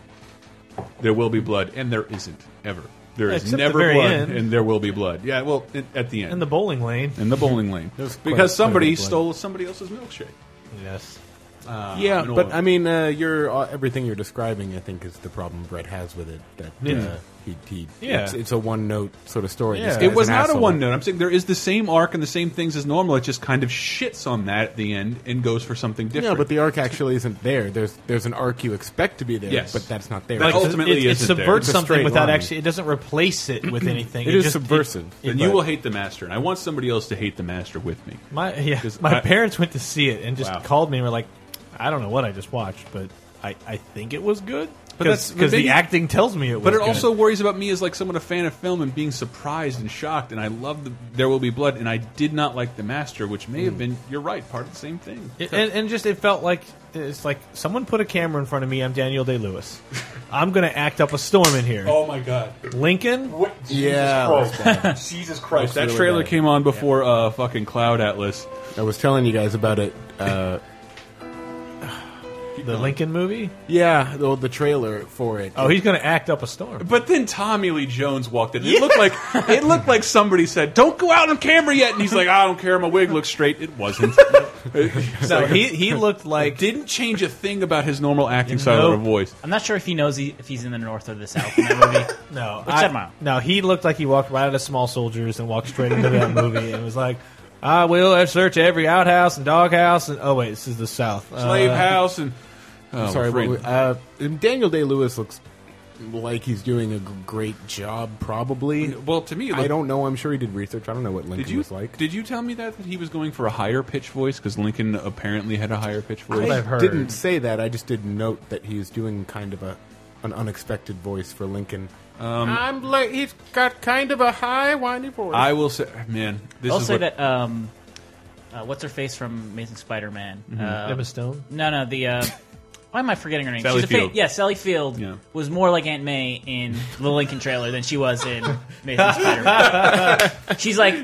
There will be blood, and there isn't ever. There is Except the never very blood, end. and there will be blood. Yeah, well, it, at the end, And the bowling lane. in the bowling lane, There's quite- because quite a somebody bit of blood. stole somebody else's milkshake. Yes. Uh, yeah, an but old- I mean, uh, you're uh, everything you're describing. I think is the problem Brett has with it. That Yeah. uh, he, he Yeah. it's, it's a one note sort of story. This it guy's was an not a asshole. one note. I'm saying there is the same arc and the same things as normal. It just kind of shits on that at the end and goes for something different. Yeah, but the arc actually isn't there. There's there's an arc you expect to be there, Yes. but that's not there. That It's Like, just- ultimately it, it isn't there. subverts It's a something straight without line. actually. It doesn't replace it with anything. It is just- subversive. then you will hate the master, and I want somebody else to hate the master with me. My yeah, 'Cause my I- parents went to see it and just Wow. called me and were like, "I don't know what I just watched, but I, I think it was good." But that's- but Because the maybe- acting tells me it was. But it good. also worries about me as like someone a fan of film and being surprised and shocked. And I love the There Will Be Blood, and I did not like The Master, which may Hmm. have been you're right, part of the same thing. It- and, and just it felt like it's like someone put a camera in front of me. I'm Daniel Day Lewis. I'm gonna act up a storm in here. oh my god! Lincoln, What? Yeah, Oh. that's bad. Jesus Christ! That really trailer bad. came on before uh, fucking Cloud Atlas. I was telling you guys about it. Uh, Oh, the Lincoln movie. yeah, the, the trailer for it. Oh, he's gonna act up a storm. But then Tommy Lee Jones walked in. It looked like it looked like somebody said, "Don't go out on camera yet," and he's like, "I don't care. My wig looks straight." It wasn't. No, he he looked It like didn't change a thing about his normal acting style or Nope. voice. I'm not sure if he knows he, if he's in the north or the south in that movie. no. Which I- said mile? No, he looked like he walked right out of Small Soldiers and walked straight into that movie and was like. I will search every outhouse and doghouse and oh wait, this is the South. Slave Uh, House and. I'm Oh, sorry. Frieden. what- uh, Daniel Day Lewis looks like he's doing a g- great job. Probably. Well, to me, it I looked- don't know. I'm sure he did research. I don't know what Lincoln Did you was like. did you tell me that that he was going for a higher pitch voice because Lincoln apparently had a higher pitch voice? what I I've heard. didn't say that. I just did note that he's doing kind of a an unexpected voice for Lincoln. Uh, Um, I'm like he's got kind of a high whiny voice. I will say, man, this I'll is say what, that. Um, uh, what's her face from Amazing Spider-Man? Uh, Mm-hmm. Emma Stone? No, no. The uh, why am I forgetting her name? Sally She's a fa- Field. yeah, Sally Field Yeah. was more like Aunt May in the Lincoln trailer than she was in Amazing Spider-Man. She's like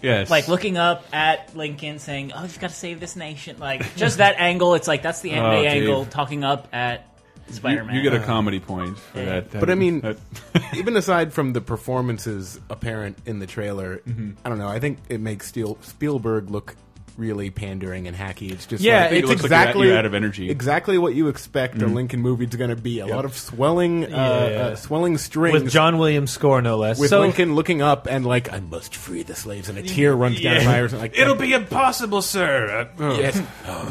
yes, like looking up at Lincoln, saying, "Oh, you've got to save this nation." Like just that angle. It's like that's the Aunt Oh, May Dave. angle talking up at you, Spider-Man. you get a comedy point for Yeah. that. But I mean, That- even aside from the performances apparent in the trailer, Mm-hmm. I don't know. I think it makes Steel- Spielberg look really pandering and hacky. It's just Yeah, like, it it's looks like you're out- exactly you're out of energy. Exactly what you expect Mm. a Lincoln movie is going to be. A lot of swelling, uh, uh, swelling strings. with John Williams score no less. with So- Lincoln looking up and like, I must free the slaves, and a tear runs down my eyes. Like uh, it'll be impossible, sir. Uh, oh. yes,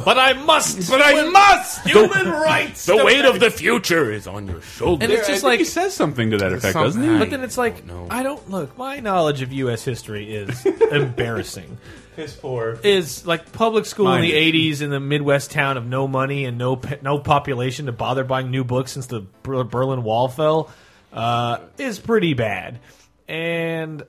but I must. But I must human rights. the weight of the future is on your shoulders. And It's it's just like like, he says something to that effect, doesn't he? something. but then it's like, know. I don't look. My knowledge of U.S. history is embarrassing. Piss poor. Is like public school Mine in the is. '80s in the Midwest town of no money and no pe- no population to bother buying new books since the Ber- Berlin Wall fell uh, is pretty bad. And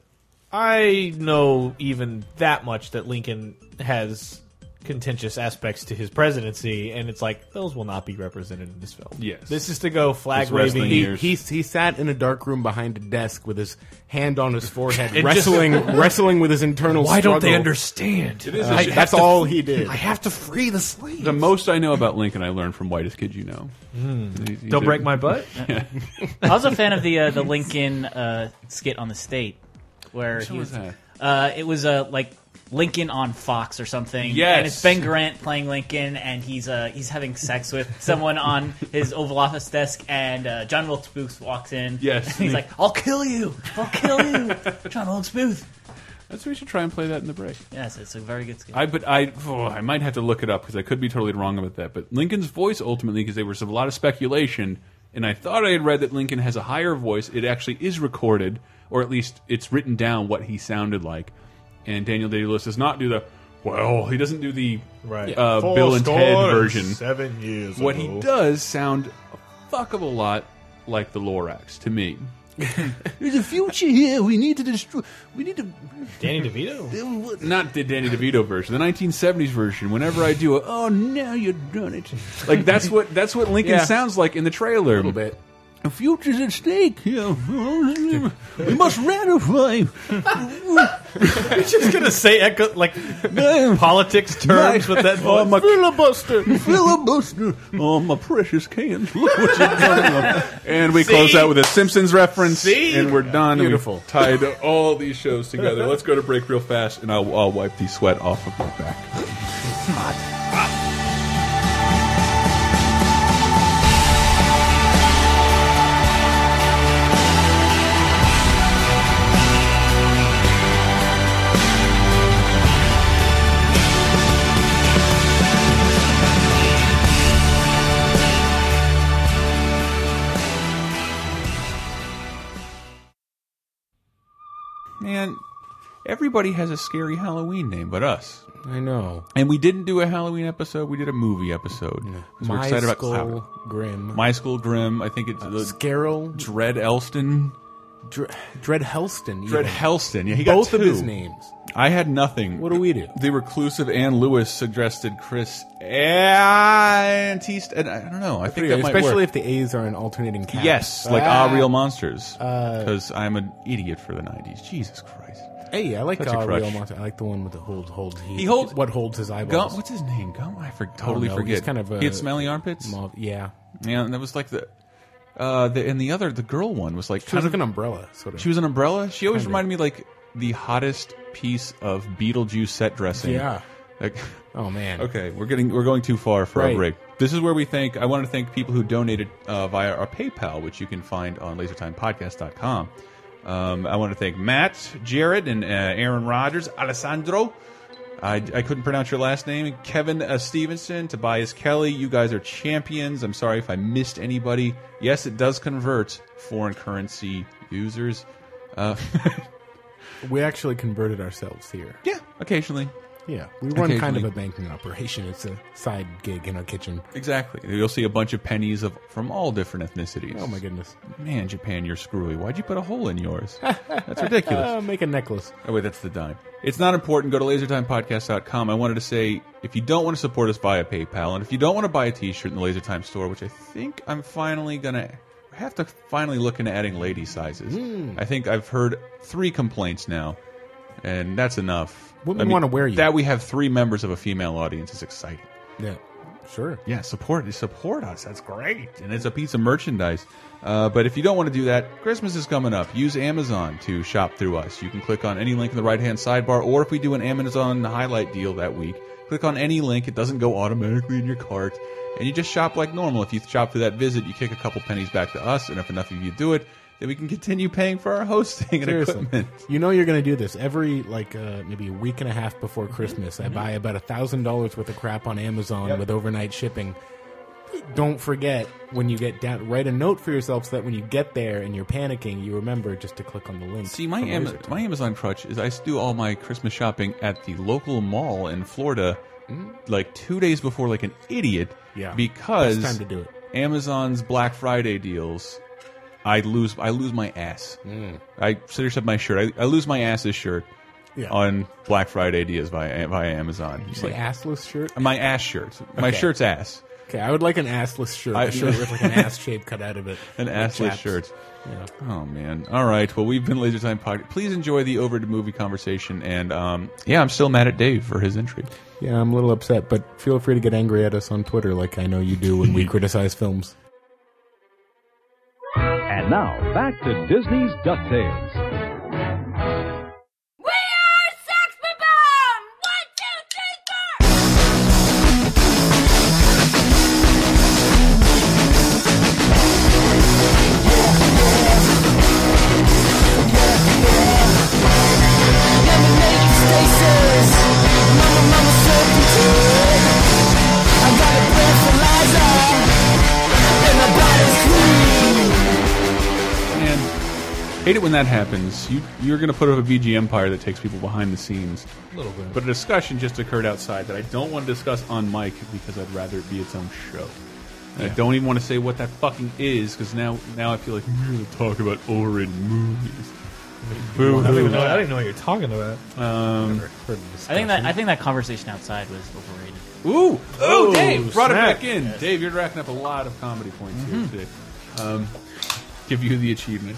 I know even that much that Lincoln has contentious aspects to his presidency, and it's like those will not be represented in this film. Yes. this is to go flag His wrestling waving. years. He, he he sat in a dark room behind a desk with his hand on his forehead, And just- wrestling wrestling with his internal. Why don't they struggle. understand? is I- I have that's all he did. I have to free the slaves. The most I know about Lincoln, I learned from Whitest Kid You Know. He's- he's Hmm. Don't a- break my butt. I was a fan of the uh, the Lincoln uh, skit on the state where Which he one was was. that? Uh, it was uh, like Lincoln on Fox or something. Yes. and it's Ben Grant playing Lincoln, and he's uh, he's having sex with someone on his Oval Office desk, and uh, John Wilkes Booth walks in. Yes. and he's like, "I'll kill you! I'll kill you, John Wilkes Booth." That's we should try and play that in the break. Yes, it's a very good skill. I but I oh, I might have to look it up because I could be totally wrong about that. But Lincoln's voice ultimately, because there was a lot of speculation, and I thought I had read that Lincoln has a higher voice. It actually is recorded, or at least it's written down what he sounded like. And Daniel Day Lewis does not do the well. He doesn't do the Right. uh, Four Bill and score Ted and version. seven years What ago. he does sound a fuck of a lot like the Lorax to me. There's a future here. We need to destroy. We need to. Danny DeVito? Not the Danny DeVito version, the 1970s version. Whenever I do a, oh, now you've done it. Like that's what that's what Lincoln Yeah. sounds like in the trailer. A little bit. The future's at stake. Yeah. we must ratify. You're just gonna say echo like politics terms with that Oh, voice. my, filibuster, filibuster. Oh, my precious cans. Look what you've done. And we close See? out with a Simpsons reference, See? and we're done. Beautiful. We've tied all these shows together. Let's go to break real fast, and I'll, I'll wipe the sweat off of my back. Man, everybody has a scary Halloween name but us. I know. And we didn't do a Halloween episode. We did a movie episode. 'Cause we're My excited about Skull Cloud. Grim. My School Grim. I think it's Uh, the Scarrel. Dred Elston. Dr- Dred Helston. Dred even. Helston. Yeah, he Both got of two. his names. I had nothing. What do we do? The reclusive Ann Lewis suggested Chris Antiste. And I don't know. I think that might Especially work. if the A's are in alternating Uh, caps. Yes, like Ah, Real Monsters. Uh, Because I'm an idiot for the 90s. Jesus Christ. Hey, I like Such a Ah, Real crutch. Monster. I like the one with the hold hold. He, He holds- what holds his eyeballs. Gum, what's his name? Gum? I for, totally know. forget. He's kind of a- he had smelly armpits. Mal- yeah. Yeah, and that was like the, uh, the and the other the girl one was like She kind was of like an umbrella, sort of. She was an umbrella. She always Kinda. reminded me like the hottest piece of Beetlejuice set dressing. Yeah. Like, Oh man. okay, we're getting we're going too far for our Right. break. This is where we thank. I want to thank people who donated uh, via our PayPal, which you can find on LaserTimePodcast.com. Um, I want to thank Matt, Jared, and uh, Aaron Rogers, Alessandro. I, I couldn't pronounce your last name. Kevin uh, Stevenson, Tobias Kelly, you guys are champions. I'm sorry if I missed anybody. Yes, it does convert foreign currency users. Uh, We actually converted ourselves here. yeah, occasionally. Yeah, we run kind of Occasionally. a banking operation. It's a side gig in our kitchen. Exactly. You'll see a bunch of pennies of from all different ethnicities. Oh my goodness. Man, Japan, you're screwy. Why'd you put a hole in yours? That's ridiculous. Uh, make a necklace. Oh, wait, that's the dime. It's not important. Go to lasertimepodcast.com. I wanted to say if you don't want to support us via PayPal, and if you don't want to buy a t shirt in the Lasertime store, which I think I'm finally going to have to finally look into adding lady sizes. I think I've heard three complaints now, and that's enough. Women I mean, wanna wear you. That we have three members of a female audience is exciting. Yeah, sure. Yeah, support support us. That's great, and it's a piece of merchandise. Uh, but if you don't want to do that, Christmas is coming up. Use Amazon to shop through us. You can click on any link in the right hand sidebar, or if we do an Amazon highlight deal that week, click on any link. It doesn't go automatically in your cart, and you just shop like normal. If you shop through that visit, you kick a couple pennies back to us, and if enough of you do it, then we can continue paying for our hosting and Seriously. equipment. You know you're going to do this every like uh, maybe a week and a half before Christmas. Mm-hmm. I buy about a thousand dollars worth of crap on Amazon with overnight shipping. Don't forget when you get down, write a note for yourself so that when you get there and you're panicking, you remember just to click on the link. See, my from Am- Wizard. my Amazon crutch is I do all my Christmas shopping at the local mall in Florida, like two days before, like an idiot. Mm. Yeah. because Best time to do it. Amazon's Black Friday deals, I lose I lose my ass. Mm. I seriously have my shirt. I, I lose my ass's shirt Yeah. on Black Friday deals via via Amazon. Did you say assless shirt. my ass shirt. My Okay. shirt's ass. Okay, I would like an assless shirt. I- a shirt with like an ass shape cut out of it. An Like assless chaps. shirt. Yeah. Oh man! All right. Well, we've been Laser Time Podcast. Please enjoy the over to movie conversation. And um, yeah, I'm still mad at Dave for his entry. Yeah, I'm a little upset, but feel free to get angry at us on Twitter, like I know you do when we criticize films. And now, back to Disney's DuckTales. We are Sex Bomb! One, two, three, four! Let me hate it when that happens. You, you're going to put up a VG empire that takes people behind the scenes. A little bit. But a discussion just occurred outside that I don't want to discuss on mic because I'd rather it be its own show. And I Yeah. don't even want to say what that fucking is because now now I feel like we're going to talk about Orin movies. Boo I don't even hoo. know. I don't even know what you're talking about. Um, I think that I think that conversation outside was overrated. Ooh, oh, Dave snap. brought it back in. Dave, you're racking up a lot of comedy points here Mm-hmm. today. Um, give you the achievement.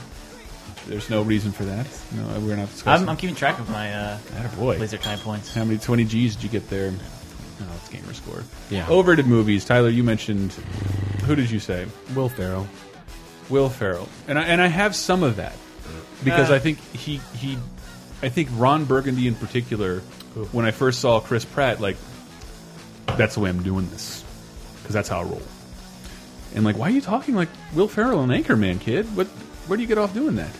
There's no reason for that. No, we're not discussing. I'm, I'm keeping track of my uh, boy. laser time points. How many 20 G's did you get there? Oh, it's gamer score. Yeah. Overrated movies. Tyler, you mentioned. Who did you say? Will Ferrell. Will Ferrell. And I, and I have some of that because Uh. I think he he, I think Ron Burgundy in particular. When I first saw Chris Pratt, like, that's the way I'm doing this because that's how I roll. And like, why are you talking like Will Ferrell and Anchorman, kid? What? Where do you get off doing that?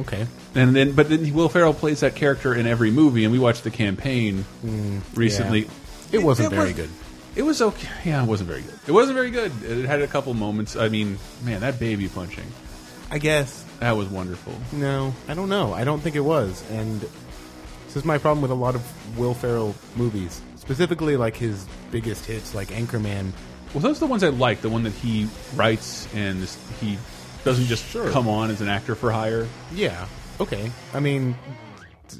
okay. And then, but then Will Ferrell plays that character in every movie, and we watched the campaign recently. Mm, yeah. It wasn't very good. It was okay. Yeah, it wasn't very good. It wasn't very good. It had a couple moments. I mean, man, that baby punching. I guess that was wonderful. No, I don't know. I don't think it was. And this is my problem with a lot of Will Ferrell movies, specifically like his biggest hits, like Anchorman. Well, those are the ones I like. The one that he writes and this- he doesn't just Sure. come on as an actor for hire. Yeah. Okay. I mean, t-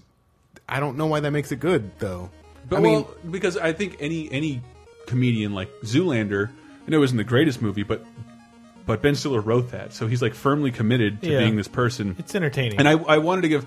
I don't know why that makes it good though. But I mean, well, because I think any any comedian like Zoolander, I know it wasn't the greatest movie, but but Ben Stiller wrote that, so he's like firmly committed to Yeah. being this person. It's entertaining. And I, I wanted to give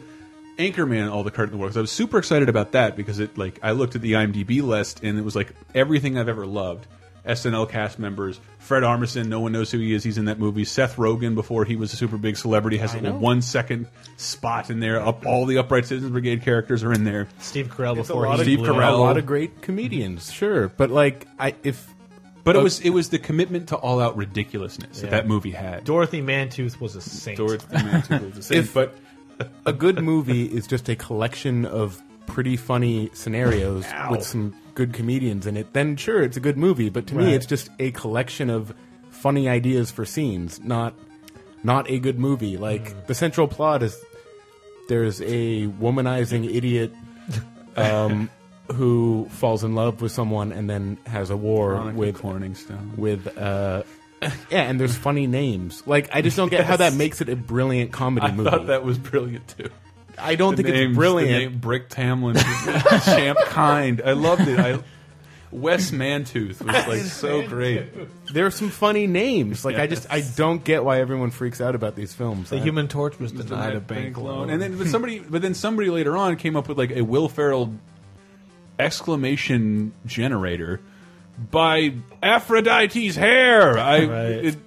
Anchorman all the credit in the world 'cause I was super excited about that because it like I looked at the IMDb list and it was like everything I've ever loved. SNL cast members, Fred Armisen, no one knows who he is. He's in that movie. Seth Rogen, before he was a super big celebrity, has I a know. one second spot in there. Up, all the Upright Citizens Brigade characters are in there. Steve Carell it's a before lot he of, Steve blew up. Carell. a lot of great comedians, sure. But like, I if But it Uh, was it was the commitment to all out ridiculousness that Yeah. that movie had. Dorothy Mantooth was a saint. Dorothy Mantooth was a saint, but a good movie is just a collection of pretty funny scenarios Ow. with some good comedians in it, then sure, it's a good movie. But to Right. me, it's just a collection of funny ideas for scenes, not not a good movie. Like Mm. the central plot is there's a womanizing idiot. Um, Who falls in love with someone and then has a war Veronica with Corningstone. With uh, yeah, and there's funny names. Like I just don't get how Yes. that makes it a brilliant comedy I movie. thought that was brilliant too. I don't The think it's names, the brilliant. name Brick Tamlin, Champ Kind. I loved it. I Wes Mantooth was like so great. There are some funny names. Like I just I don't get why everyone freaks out about these films. The I- Human Torch was denied a bank loan. And then but somebody, but then somebody later on came up with like a Will Ferrell exclamation generator by Aphrodite's hair. I Right. it,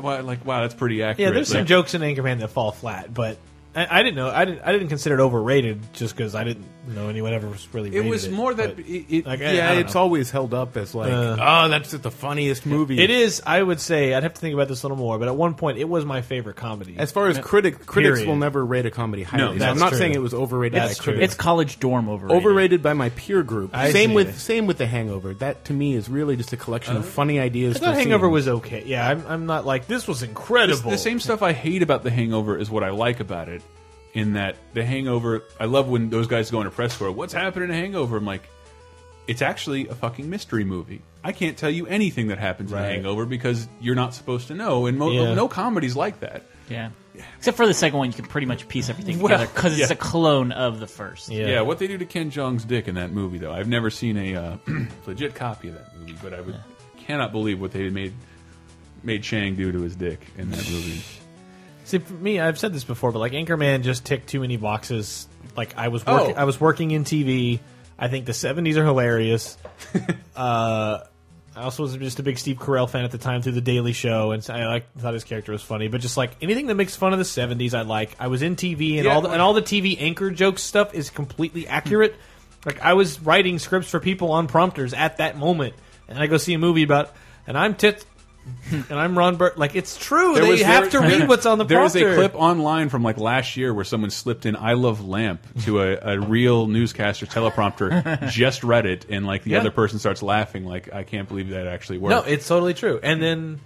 well, like wow, that's pretty accurate. yeah, there's some Like, jokes in Anchorman that fall flat, but I, I didn't know. I didn't. I didn't consider it overrated just because I didn't know anyone ever was really. It rated was more that but- it, it, like, I- yeah, I don't it's know. always held up as like Uh, oh that's just the funniest movie. It is. I would say I'd have to think about this a little more, but at one point it was my favorite comedy. As far as critic critics Period. will never rate a comedy highly. so I'm that's not true. saying it was overrated That's by true. critics. It's college dorm overrated. overrated by my peer group. I same see. with same with The Hangover. That to me is really just a collection of funny I ideas. for thought Hangover scenes. was okay. Yeah, I'm, I'm not like this was incredible. The same stuff I hate about The Hangover is what I like about it. In that The Hangover, I love when those guys go into press corps. What's happening in Hangover? I'm like, it's actually a fucking mystery movie. I can't tell you anything that happens in Right. Hangover because you're not supposed to know. And mo Yeah. no comedy's like that. Yeah. Except for the second one, you can pretty much piece everything Well, together because it's yeah. a clone of the first. Yeah. what they do to Ken Jong's dick in that movie, though, I've never seen a uh, legit copy of that movie, but I would cannot believe what they made made Chang do to his dick in that movie. See, for me, I've said this before, but like Anchorman just ticked too many boxes. Like I was, work- Oh. I was working in TV. I think the '70s are hilarious. uh, I also was just a big Steve Carell fan at the time through The Daily Show, and so I like thought his character was funny. But just like anything that makes fun of the '70s, I like. I was in TV, and Yeah, all the, well- and all the TV anchor joke stuff is completely accurate. like I was writing scripts for people on prompters at that moment, and I go see a movie about, and I'm tit. and I'm Ron Burt. Like it's true. There They was- have to there- read what's on the There is prompter. a clip online from like last year where someone slipped in "I love lamp" to a, a real newscaster teleprompter, just read it, and like the Yeah. other person starts laughing, like I can't believe that actually worked. No, it's totally true. And then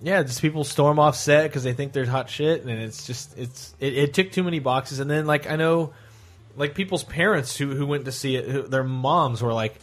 Yeah, just people storm off set because they think there's hot shit, and it's just it's it, it took too many boxes. And then like I know, like people's parents who who went to see it, who, their moms were like,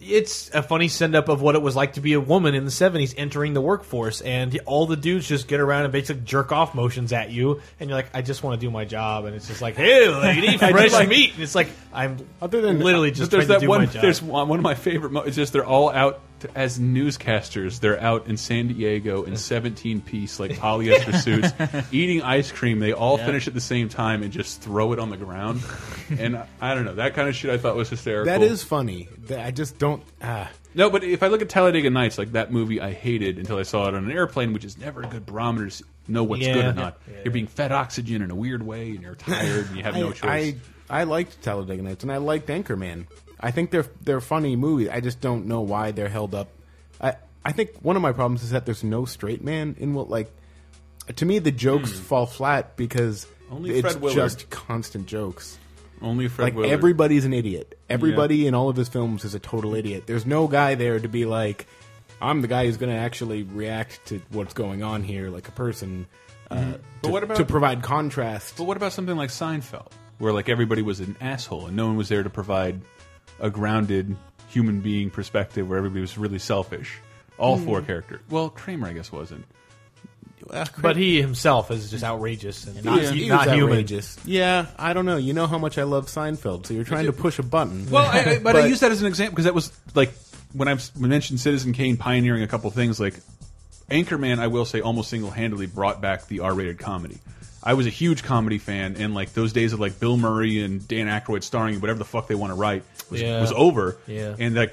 it's a funny send up of what it was like to be a woman in the '70s entering the workforce, and all the dudes just get around and basically jerk off motions at you, and you're like, I just want to do my job, and it's just like, hey, lady, I fresh just like- meat, and it's like I'm other than- literally but just there's trying that to do one. my job. There's one, one of my favorite. Mo it's just they're all out t as newscasters. They're out in San Diego in 17 piece like polyester suits, eating ice cream. They all Yeah. finish at the same time and just throw it on the ground. and I, I don't know that kind of shit. I thought was hysterical. That is funny. That- I just don't. Ah. No, but if I look at Talladega Nights, like that movie, I hated until I saw it on an airplane, which is never a good barometer to s- know what's Yeah. good or not. Yeah. You're being fed oxygen in a weird way, and you're tired, and you have no I- choice. I, I liked Talladega Nights and I liked Anchorman. I think they're they're funny movies. I just don't know why they're held up. I I think one of my problems is that there's no straight man in what like to me the jokes Hmm. fall flat because Only it's Fred Willard. just constant jokes. Only Fred like Willard. everybody's an idiot. Everybody Yeah. in all of his films is a total idiot. There's no guy there to be like, I'm the guy who's going to actually react to what's going on here like a person. Uh, Mhm. But to- what about- to provide contrast? But what about something like Seinfeld, where like everybody was an asshole and no one was there to provide a grounded human being perspective, where everybody was really selfish. All Hmm. four characters. Well, Kramer, I guess, wasn't. But he himself is just outrageous and not, Yeah. He not was human. outrageous. Yeah, I don't know. You know how much I love Seinfeld, so you're trying to push a button. Well, I, I, but, I use that as an example because that was like when I mentioned Citizen Kane pioneering a couple things. Like Anchorman, I will say, almost single handedly brought back the R-rated comedy. I was a huge comedy fan, and like those days of like Bill Murray and Dan Aykroyd starring whatever the fuck they want to write was, Yeah. was over. Yeah. and like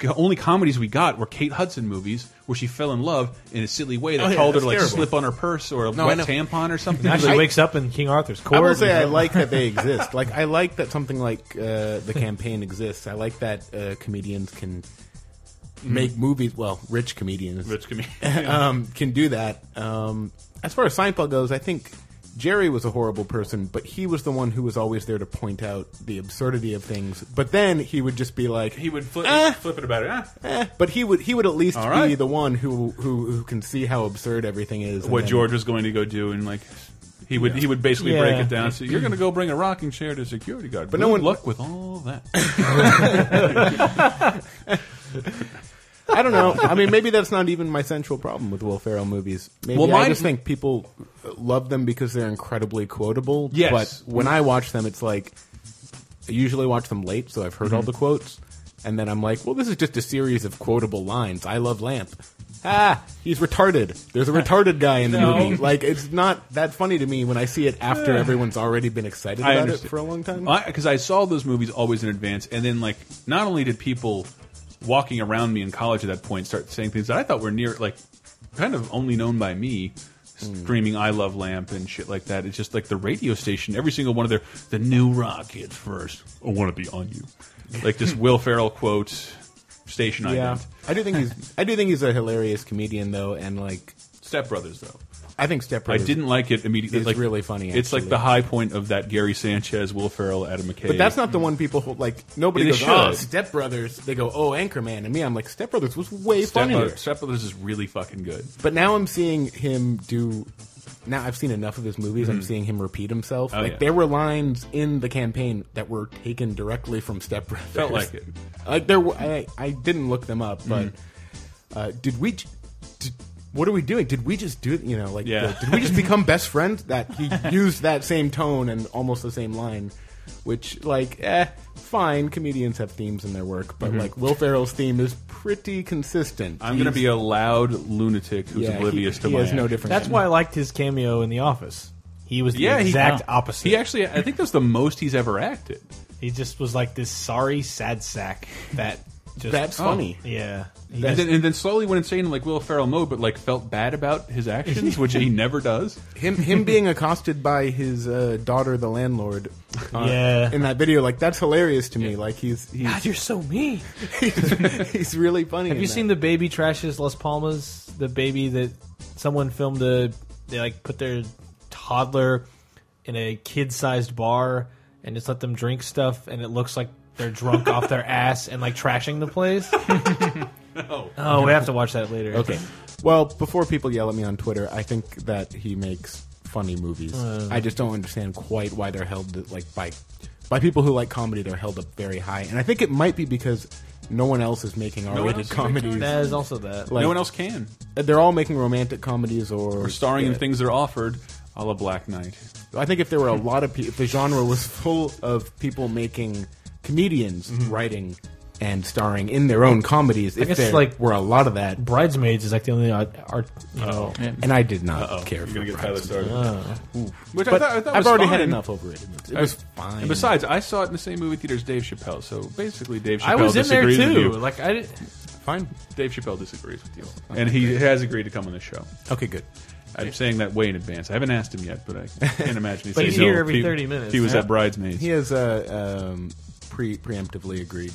the only comedies we got were Kate Hudson movies where she fell in love in a silly way that Oh, yeah, called her that's like terrible. slip on her purse or a No, I wet know. tampon or something. And actually Like- wakes up in King Arthur's court. I will say you I know? like that they exist. Like I like that something like uh, the campaign exists. I like that uh, comedians can make movies. Well, rich comedians, Mm-hmm. Rich comedians, yeah. um, can do that. Um, as far as Seinfeld goes, I think Jerry was a horrible person, but he was the one who was always there to point out the absurdity of things. But then he would just be like, he would flip, flip it about it. Ah. Eh, but he would he would at least All be right. the one who, who who can see how absurd everything is. and what then- George was going to go do, and like he would he would basically Yeah. break it down. So you're going to go bring a rocking chair to security guard. But no one luck with all that. I don't know. I mean, maybe that's not even my central problem with Will Ferrell movies. Maybe Well, I mine- just think people love them because they're incredibly quotable. Yes. But when I watch them, it's like I usually watch them late, so I've heard all Mhm. the quotes, and then I'm like, well, this is just a series of quotable lines. I love Lamp. Ah, he's retarded. There's a retarded guy in the No. movie. Like, it's not that funny to me when I see it after Yeah. everyone's already been excited I about it understand. for a long time. because I, saw those movies always in advance, and then like not only did people walking around me in college at that point start saying things that I thought were near like kind of only known by me. Hmm. Screaming "I love lamp" and shit like that. It's just like the radio station. Every single one of their the new rock hits first. I want to be on you. Like just Will Ferrell quotes, station yeah, ident. I do think he's I do think he's a hilarious comedian though, and like Step Brothers though. I think Step Brothers. I didn't like it immediately. It's like, really funny. It's like actually. the high point of that Gary Sanchez, Will Ferrell, Adam McKay. But that's not the one people hold, like. Nobody They goes, should. "Oh, Step Brothers." They go, "Oh, Anchorman," and me, I'm like, "Step Brothers was way Step funnier." Brothers, Step Brothers is really fucking good. But now I'm seeing him do. Now I've seen enough of his movies. I'm Mhm. seeing him repeat himself. Oh, like yeah. there were lines in the campaign that were taken directly from Step Brothers. Felt like it. Like there, were, I I didn't look them up, but Mhm. uh, did we? j- Did, what are we doing? Did we just do it? You know, like Yeah. the- did we just become best friends? That he used that same tone and almost the same line, which like eh, fine. Comedians have themes in their work, but Mhm. like Will Ferrell's theme is pretty consistent. I'm going to He's- be a loud lunatic who's Yeah, he- oblivious to he my. has no actions. different- That's why I liked his cameo in The Office. He was the Yeah, he- exact Wow. opposite. He actually, I think that's the most he's ever acted. He just was like this sorry sad sack that just That's funny. Yeah. He and, just- then, and then slowly went insane in like Will Ferrell mode, but like felt bad about his actions, which he never does. him him being accosted by his uh, daughter, the landlord, uh, Yeah. in that video, like that's hilarious to me. Like he's he's God, you're so mean. he's really funny. Have in you that. seen the baby trashes Las Palmas? The baby that someone filmed a they like put their toddler in a kid sized bar and just let them drink stuff and it looks like they're drunk off their ass and like trashing the place. No. Oh, we have to watch that later. Okay. Well, before people yell at me on Twitter, I think that he makes funny movies. Uh. I just don't understand quite why they're held like by by people who like comedy. They're held up very high, and I think it might be because no one else is making one R-rated else is making comedies. comedies. That is also that. No one else can. They're all making romantic comedies or We're starring in Yeah. things that are offered, a la Black Knight. I think if there were a lot of people, if the genre was full of people making comedians Mm-hmm. writing and starring in their own comedies, I if guess, there like, were a lot of that, Bridesmaids is like the only art. art you know. and I did not Oh, Uh-oh. care. You're for gonna get Bridesmaids. Tyler Starr. Oh. Oof. Which I But thought, I thought I've was already fine. had enough overrated movies. It I- was fine. And besides, I saw it in the same movie theater as Dave Chappelle, so basically Dave Chappelle I was in there disagrees with too. you. Like I did. Fine. Dave Chappelle disagrees with you, and he has agreed to come on the show. Okay, good. I'm saying that way in advance. I haven't asked him yet, but I can't imagine. he'd But say he's here no. every He- 30 minutes. He was Yeah. at bridesmaids. He has uh, um, pre preemptively agreed.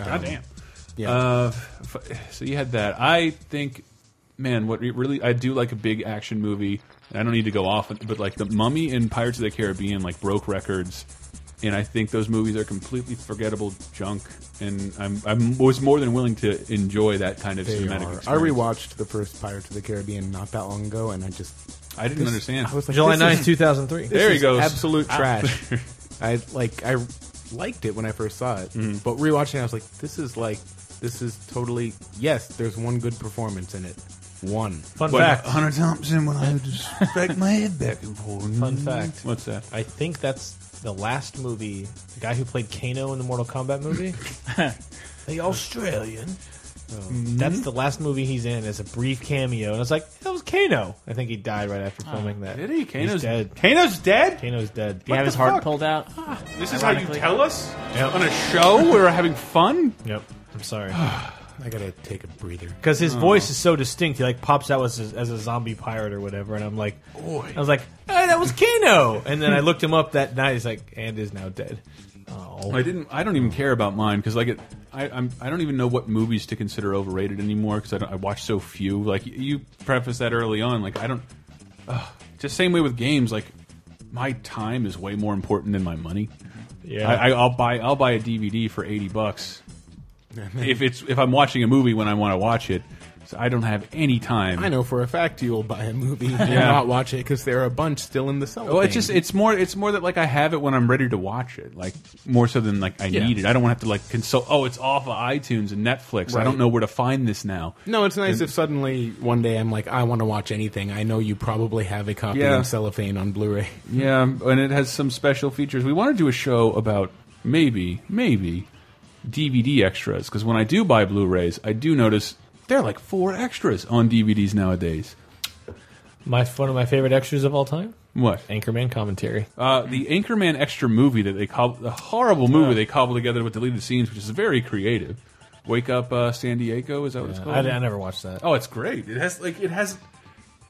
Um, God damn. Yeah. Uh, f- so you had that. I think, man, what re- really I do like a big action movie. I don't need to go off, but like the Mummy and Pirates of the Caribbean like broke records, and I think those movies are completely forgettable junk. And I'm I'm was more than willing to enjoy that kind of They cinematic. are. I Experience. rewatched the first Pirates of the Caribbean not that long ago, and I just I didn't understand. I was like, July this 9th, is- 2003. this There he is goes. Absolute Ah. trash. I like. I liked it when I first saw it, Mm-hmm. but rewatching, it, I was like, this is like, this is totally. Yes, there's one good performance in it. One Fun What? fact. Hunter Thompson, when I just back my head back and forth. Fun fact. What's that? I think that's the last movie. The guy who played Kano in the Mortal Kombat movie, the Australian. That's the last movie he's in as a brief cameo, and I was like, "That was Kano." I think he died right after filming that. Did he? Kano's He's dead. Kano's dead. Kano's dead. Did Oh. he have his heart pulled out? This is how you Ironically. tell us Yep. on a show where we're having fun. Yep. I'm sorry. I gotta take a Oh. breather. Because his voice is so distinct, he like pops out as a, as a zombie pirate or whatever, and I'm like, Oi. I was like, hey, that was Kano, and then I looked him up that night. He's like, and is now dead. Oh, I didn't. I don't even care about mine because like it, I I'm, I don't even know what movies to consider overrated anymore because I, don't- I watch so few. Like y- you preface that early on, like I don't. Uh, just same way with games. Like my time is way more important than my money. Yeah. I, I, I'll buy I'll buy a DVD for eighty bucks if it's if I'm watching a movie when I want to watch it. So I don't have any time. I know for a fact you will buy a movie and Yeah. not watch it because there are a bunch still in the cell. Well, it's just it's more it's more that like I have it when I'm ready to watch it, like more so than like I Yeah. need it. I don't want to have to like consult. Oh, it's off of iTunes and Netflix. I Right. don't know where to find this now. No, it's nice And- if suddenly one day I'm like, I want to watch anything. I know you probably have a copy Yeah. in cellophane on Blu-ray. Yeah, and it has some special features. We want to do a show about maybe maybe DVD extras because when I do buy Blu-rays, I do notice there are like four extras on DVDs nowadays. my one of my favorite extras of all time, What? Anchorman commentary. Uh, the Anchorman extra movie that they call the horrible movie they cobbled together with deleted scenes, which is very creative. Wake up, uh, San Diego is that what it's called? I, I never watched that. Oh, it's great. It has like it has.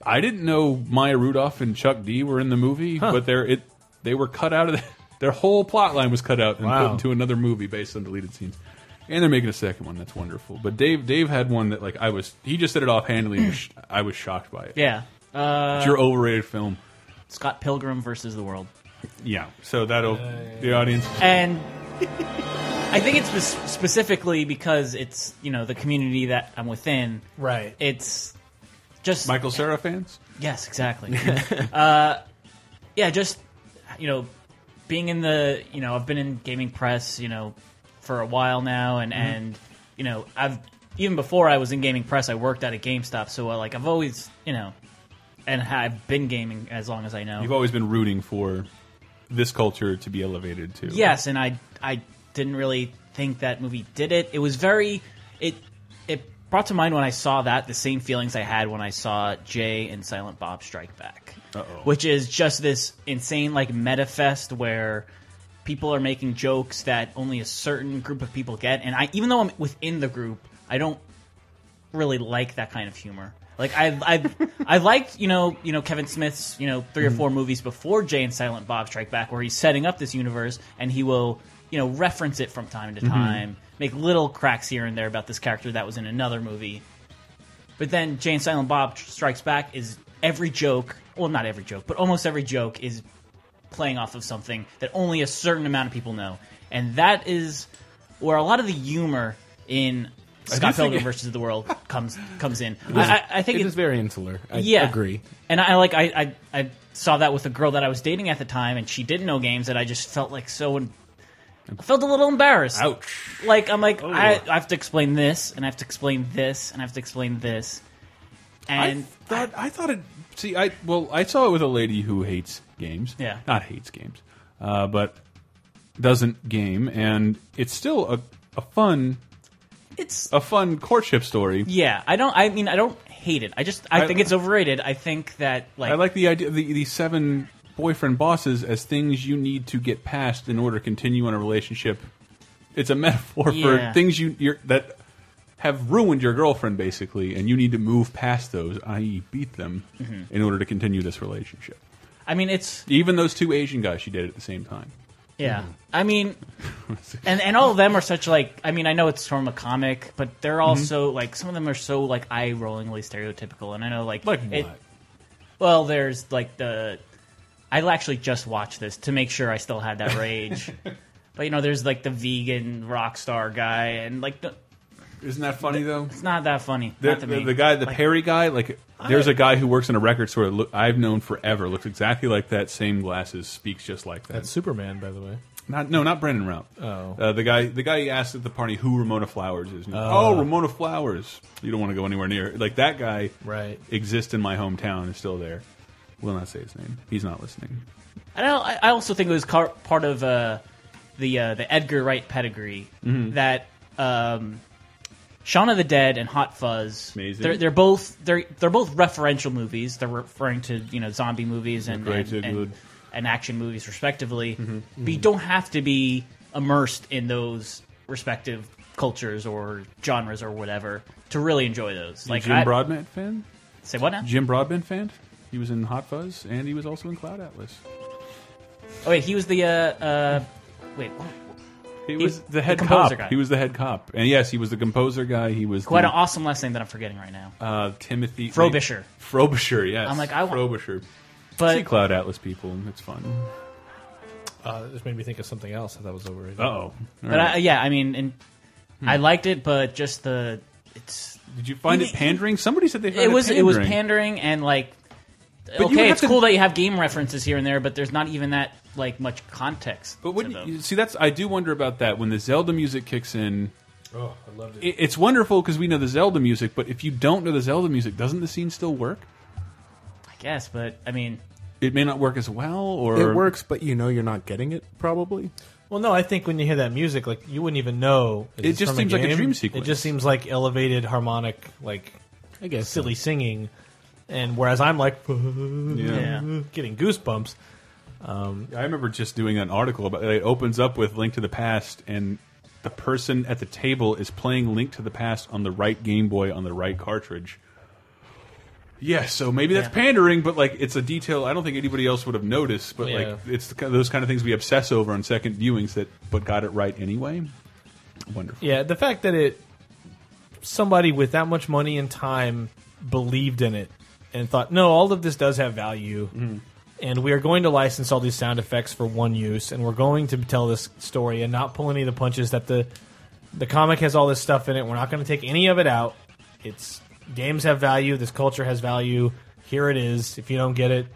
I didn't know Maya Rudolph and Chuck D were in the movie, but they're it. They were cut out of the, their whole plot line was cut out and Wow. put into another movie based on deleted scenes. And they're making a second one. That's wonderful. But Dave, Dave had one that like I was. He just said it offhandedly. and sh- I was shocked by it. Yeah. Uh, It's your overrated film. Scott Pilgrim versus the World. Yeah. So that'll the audience. and I think it's spe- specifically because it's you know the community that I'm within. Right. It's just Michael Sarah fans. yes, exactly. uh, yeah, just you know being in the you know I've been in gaming press you know for a while now, and and you know I've even before I was in gaming press, I worked at a GameStop, so uh, like I've always you know. And ha- I've been gaming as long as I know. You've always been rooting for this culture to be elevated to. Yes, and I I didn't really think that movie did it. It was very it it brought to mind when I saw that the same feelings I had when I saw Jay and Silent Bob Strike Back, Uh-oh. which is just this insane like meta fest where people are making jokes that only a certain group of people get, and I even though I'm within the group, I don't really like that kind of humor. Like I I I liked you know you know Kevin Smith's you know three or four movies before Jay and Silent Bob Strike Back where he's setting up this universe and he will you know reference it from time Mm-hmm. to time, make little cracks here and there about this character that was in another movie. But then Jay and Silent Bob Strikes Back is every joke well not every joke but almost every joke is playing off of something that only a certain amount of people know, and that is where a lot of the humor in I Scott do think Pilgrim it- versus the World comes comes in. I, I, I think it it's is very insular. I yeah, agree. And I like I, I I saw that with a girl that I was dating at the time, and she didn't know games, and I just felt like so. em- I felt a little embarrassed. Ouch! Like I'm like Oh. I, I have to explain this, and I have to explain this, and I have to explain this, and I thought I thought it. See, I well, I saw it with a lady who hates games. Yeah. not hates games, uh, but doesn't game, and it's still a a fun. It's a fun courtship story. yeah, I don't. I mean, I don't hate it. I just I, I- think it's overrated. I think that like I like the idea the the seven boyfriend bosses as things you need to get past in order to continue on a relationship. It's a metaphor Yeah. for things you you're, that have ruined your girlfriend basically, and you need to move past those, i.e., beat them, Mhm. in order to continue this relationship. I mean, it's Even those two Asian guys she did at the same time. Yeah, I mean, and and all of them are such like. I mean, I know it's from a comic, but they're Mm-hmm. Mhm. also like some of them are so like eye rollingly stereotypical, and I know like like what? well, there's like the. I actually just watched this to make sure I still had that rage, but you know, there's like the vegan rock star guy, and like. The, Isn't that funny though? It's not that funny. The, not to the, me. the guy, the Like, Perry guy, like there's a guy who works in a record store that look, I've known forever. Looks exactly like that. Same glasses, speaks just like that. That's Superman, by the way. Not no, not Brandon Routh. Oh. uh, the guy, the guy he asked at the party who Ramona Flowers is. And he- Oh. oh, Ramona Flowers. You don't want to go anywhere near. Like that guy, Right. Exists in my hometown. Is still there. Will not say his name. He's not listening. I don't. I I also think it was car- part of uh, the uh, the Edgar Wright pedigree Mhm. that um, Shaun of the Dead and Hot Fuzz. Amazing. They're, they're both they're they're both referential movies. They're referring to you know zombie movies and Great, and, and, good. and action movies respectively. But you Mhm. don't have to be immersed in those respective cultures or genres or whatever to really enjoy those. You Like Jim I- Broadbent fan. Say what now? Jim Broadbent fan. He was in Hot Fuzz and he was also in Cloud Atlas. Oh wait, he was the uh, uh, wait. what- He was the head composer cop. guy. He was the head cop, and yes, he was the composer guy. He was Who had the, Hmm. an awesome last name that I'm forgetting right now. uh, Timothy Frobisher. Frobisher, yes. I'm like, I want- Frobisher. But- see Cloud Atlas people, and it's fun. Uh, this made me think of something else that was overrated. Uh-oh. But I, yeah, I mean, and I Hmm. liked it, but just the it's. Did you find it pandering? Somebody said they found it was it it was pandering. pandering and like. you would okay, have it's to- cool that you have game references here and there, but there's not even that like much context. But wouldn't you see? That's I do wonder about that when the Zelda music kicks in. Oh, I loved it- It's wonderful because we know the Zelda music, but if you don't know the Zelda music, doesn't the scene still work? I guess, but I mean, It may not work as well, or It works, but you know you're not getting it probably. Well, no, I think when you hear that music, like you wouldn't even know. is It this just from seems like a game? dream sequence. It just seems like elevated harmonic, like I guess silly singing. And whereas I'm like, Yeah. getting goosebumps. Um, I remember just doing an article about it opens up with Link to the Past and the person at the table is playing Link to the Past on the right Game Boy on the right cartridge. Yeah, so maybe that's pandering, but like it's a detail I don't think anybody else would have noticed, but Yeah. like it's the, kind- those kind of things we obsess over on second viewings that but got it right anyway. Wonderful. Yeah, the fact that it somebody with that much money and time believed in it and thought, no, all of this does have value, and we are going to license all these sound effects for one use, and we're going to tell this story and not pull any of the punches that the the comic has all this stuff in it. We're not going to take any of it out. It's games have value. This culture has value. Here it is. If you don't get it,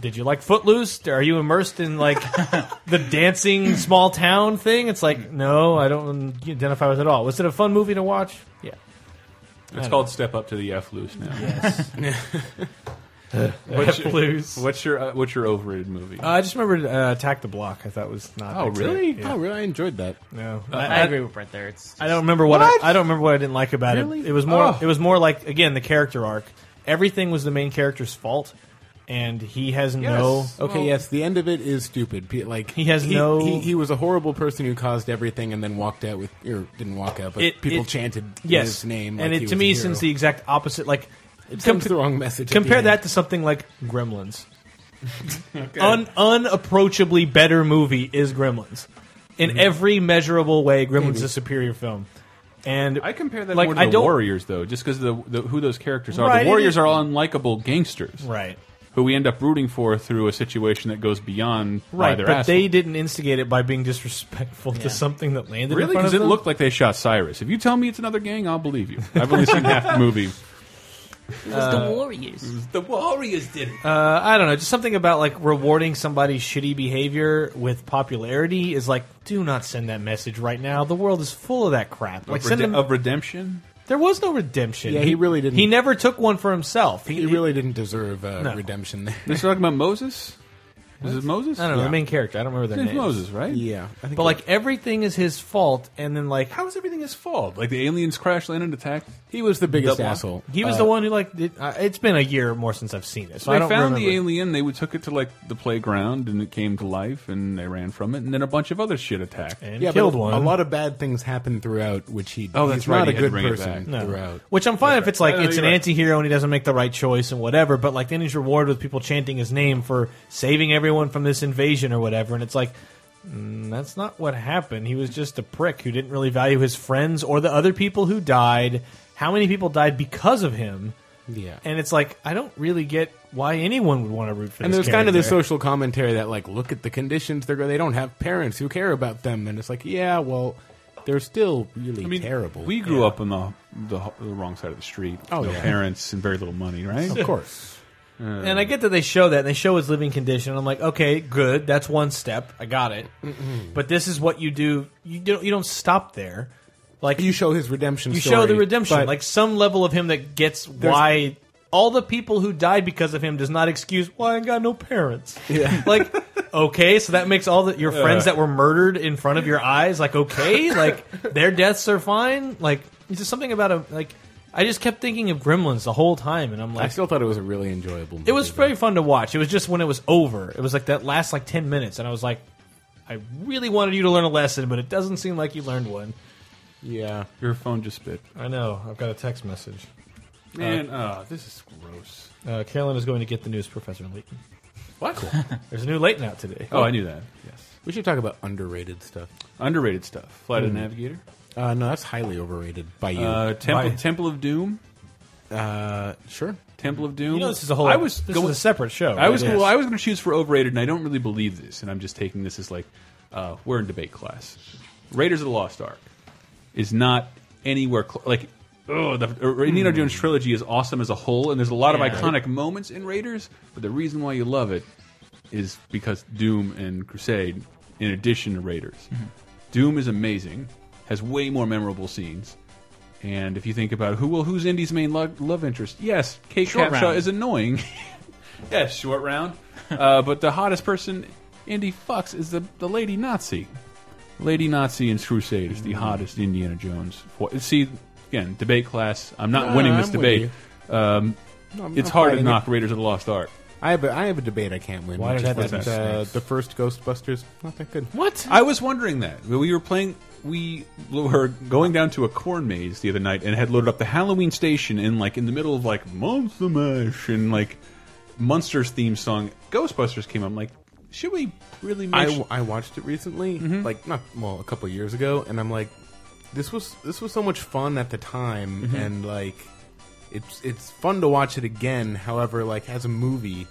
did you like Footloose? Are you immersed in like the dancing small town thing? It's like no, I don't identify with it at all. Was it a fun movie to watch? Yeah, It's I called Step Up to the F Loose now. Yes. what's your, F-Loose. What's your uh, what's your overrated movie? Uh, I just remembered uh, Attack the Block. I thought was not. Oh, that really? great. Yeah. Oh, really? I enjoyed that. No, I, I agree with Brett there. It's I don't remember what, What? I, I don't remember what I didn't like about it. Really? It was more. Oh. It was more like again the character arc. Everything was the main character's fault, and he has no. Okay, yes. The end of it is stupid. Pe- Like he has no- He, he was a horrible person who caused everything and then walked out with or didn't walk out, but It- people it- chanted yes. his name. and like it he to was me a hero. sends the exact opposite. Like It sends the wrong message at the Compare end. that to something like Gremlins. Un unapproachably better movie is Gremlins. In Mm-hmm. Mhm. every measurable way, Gremlins Maybe. is a superior film. And I compare that like more to I the don't Warriors, though, just because the, the who those characters are. Right, it the Warriors is- are all unlikable gangsters, right? who we end up rooting for through a situation that goes beyond why Right, they're but assholes. they didn't instigate it by being disrespectful Yeah. to something that landed Really? in front Because it of them. looked like they shot Cyrus. If you tell me it's another gang, I'll believe you. I've only seen half the movie. It was the Uh, Warriors. The Warriors did it. Uh, I don't know, just something about like rewarding somebody's shitty behavior with popularity is like, do not send that message right now. The world is full of that crap. Like, Of, send rede- them. of redemption. There was no redemption. Yeah, he really didn't- He never took one for himself. He, really didn't deserve uh, No. redemption there. This is talking about Moses. Is it Moses? I don't know the main character. I don't remember their His name's name. Moses, right? Yeah, I think but like everything is his fault, and then like how is everything his fault? Like the aliens crash land and attack. He was the biggest Double. asshole. He was Uh, the one who like. Did, uh, it's been a year or more since I've seen it, so So I they don't found remember. the alien. They took it to like the playground, and it came to life, and they ran from it, and then a bunch of other shit attacked And Yeah, killed but one. A lot of bad things happened throughout, which he. Oh, he's that's right, Not he a had to good bring it person back. No. throughout. Which I'm fine if it's like No, no, it's an you're right. anti-hero and he doesn't make the right choice and whatever, but like then he's rewarded with people chanting his name for saving everyone from this invasion or whatever, and it's like mm, that's not what happened. He was just a prick who didn't really value his friends or the other people who died. How many people died because of him? Yeah. and it's like I don't really get why anyone would want to root for. And this there's kind of character. this social commentary that like, look at the conditions they're go- they don't have parents who care about them, and it's like, yeah, well, they're still really I mean, terrible. We grew up on the, the the wrong side of the street. with Oh, no yeah. parents and very little money, right? Of course. Uh, And I get that they show that and they show his living condition. I'm like, okay, good. That's one step. I got it. But this is what you do. You don't. You don't stop there. Like you show his redemption. You story, show the redemption, but- like some level of him that gets There's- why all the people who died because of him does not excuse why I got no parents. Yeah. like okay, so that makes all the your friends Yeah. that were murdered in front of your eyes like okay, like their deaths are fine. Like it's just something about a like I just kept thinking of Gremlins the whole time and I'm like I still thought it was a really enjoyable. movie. it was very fun to watch. It was just when it was over. It was like that last like ten minutes, and I was like, I really wanted you to learn a lesson, but it doesn't seem like you learned one. Yeah, your phone just spit. I know. I've got a text message. Man, oh, this is gross. Uh, Carolyn is going to get the news, Professor Leighton. What? There's a new Leighton out today. Oh, I knew that. Yes. We should talk about underrated stuff. Underrated stuff. Flight of the Hmm. Navigator. Uh, no, that's highly overrated by you. Uh, Temple, By- Temple of Doom. Uh, sure. Temple of Doom. You know this is a whole- I was this going- is a separate show, I was right? well, Yes. I was going to choose for overrated, and I don't really believe this, and I'm just taking this as like uh, we're in debate class. Raiders of the Lost Ark is not anywhere close. Like, oh, the uh, Indiana Jones trilogy is awesome as a whole, and there's a lot Hmm. Yeah. of iconic moments in Raiders. But the reason why you love it is because Doom and Crusade, in addition to Raiders, Mm-hmm. Doom is amazing, has way more memorable scenes. And if you think about who well, who's Indy's main love, love interest? Yes, Kate Short Capshaw Round. is annoying. yes, short round. uh, but the hottest person Indy fucks is the the lady Nazi. Lady Nazi in Crusade is Mm. the hottest Indiana Jones. For, see, again, debate class. I'm not No, winning no, this I'm with debate. Um, No, I'm it's not hard to fighting it. knock Raiders of the Lost Ark. I have a, I have a debate I can't win. Why which did is that that, happen? uh, the first Ghostbusters not that good. What? I was wondering that. We were playing. We were going down to a corn maze the other night and had loaded up the Halloween station in like in the middle of like Monster Mash and like Monsters theme song. Ghostbusters came. up. I'm like, should we really? Make I, I watched it recently, Mm-hmm. like not well a couple years ago, and I'm like, this was this was so much fun at the time, Mhm. and like, it's it's fun to watch it again. However, like as a movie,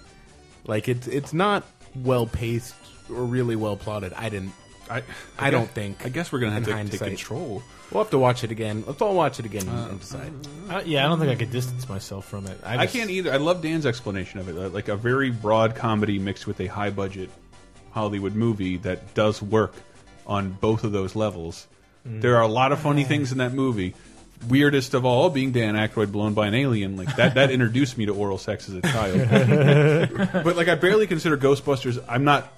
like it's it's not well paced or really well plotted. I didn't. I I, I don't think. I guess we're gonna have in to take hindsight. control. Uh, We'll have to watch it again. Let's all watch it again and decide. mm-hmm. I, Uh, yeah, I don't think I could distance myself from it. I, I, just- can't either. I love Dan's explanation of it, uh, like a very broad comedy mixed with a high budget Hollywood movie that does work on both of those levels. Mm. There are a lot of funny things in that movie. Weirdest of all being Dan Aykroyd blown by an alien, like that. That introduced me to oral sex as a child. but like, I barely consider Ghostbusters. I'm not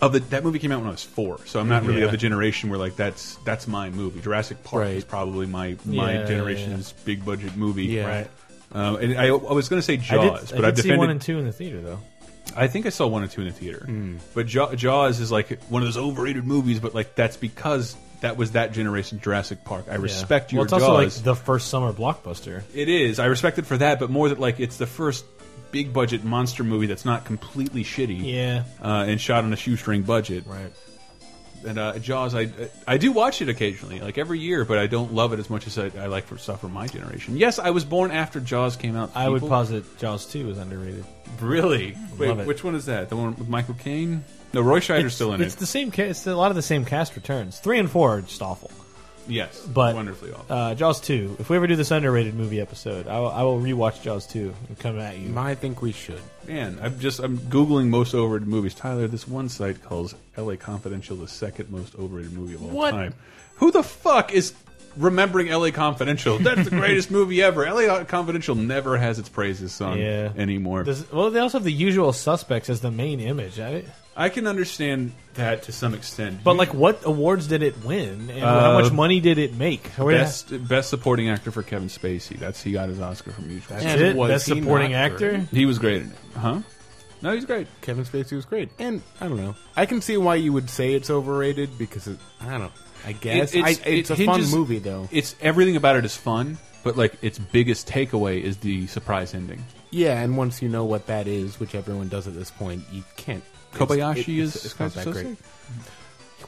of the that movie came out when I was four, so I'm not really Yeah. of the generation where like that's that's my movie. Jurassic Park is probably my my Yeah, generation's big budget movie. Yeah. Right. Um, and I, I was going to say I did, Jaws, I but I've did see defended. one and two Hmm. in the theater though. I think I saw one or two in the theater. But Jaw Jaws is like one of those overrated movies, but like that's because that was that generation Jurassic Park. I respect you. your Well, it's Jaws. also like the first summer blockbuster. It is. I respect it for that, but more that like it's the first big budget monster movie that's not completely shitty. Yeah. Uh, and shot on a shoestring budget. Right. And uh, Jaws, I I do watch it occasionally, like every year, but I don't love it as much as I, I like for stuff from my generation. Yes, I was born after Jaws came out. I would people. posit Jaws Two is underrated. Really? Wait, Love it. which one is that? The one with Michael Caine? No, Roy Scheider's It's- still in It's it. the same. Ca- it's a lot of the same cast returns. Three and four are just awful. Yes, but wonderfully awful. Uh, Jaws two. If we ever do this underrated movie episode, I will, I will rewatch Jaws two and come at you. I think we should. Man, I'm just I'm googling most overrated movies. Tyler, this one site calls L.A. Confidential the second most overrated movie of all What? time. Who the fuck is remembering L.A. Confidential? That's the greatest movie ever. L.A. Confidential never has its praises sung Yeah. anymore. Does, well, they also have the usual suspects as the main image, right? I can understand that to some extent, But like, what awards did it win, and Uh, how much money did it make? How- where- best best supporting actor for Kevin Spacey. That's he got his Oscar from Mutual. That's And it? was Best he supporting not actor? great? He was great in it, huh? No, he's great. Kevin Spacey was great, and I don't know. I can see why you would say it's overrated because it, I don't know. I guess It- I- it's, a it fun hinges- movie though. It's everything about it is fun, but like its biggest takeaway is the surprise ending. Yeah, and once you know what that is, which everyone does at this point, you can't. it's- Kobayashi it- it's- is it's not that Scorsese? great.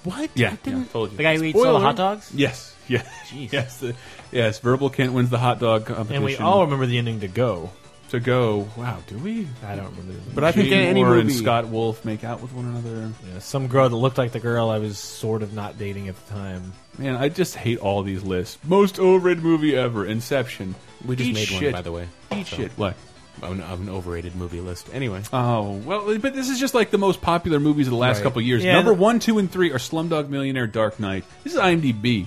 What? Yeah, I didn't- yeah, told you. The guy who eats all the hot dogs? Yes, yes, yes, the- yes. Verbal Kent wins the hot dog competition, and we all remember the ending to Go. to go. Wow, do we? I don't remember. the- But I think Gene any Moore and movie- Scott Wolf make out with one another. Yeah, some girl that looked like the girl I was sort of not dating at the time. Man, I just hate all these lists. Most overrated movie ever, Inception. We just Eat made shit. one, by the way. Eat So- shit. What? Of an, of an overrated movie list. Anyway, Oh well, but this is just like the most popular movies of the last Right. couple of years. Yeah, Number the- one, two, and three are Slumdog Millionaire, Dark Knight. This is IMDb.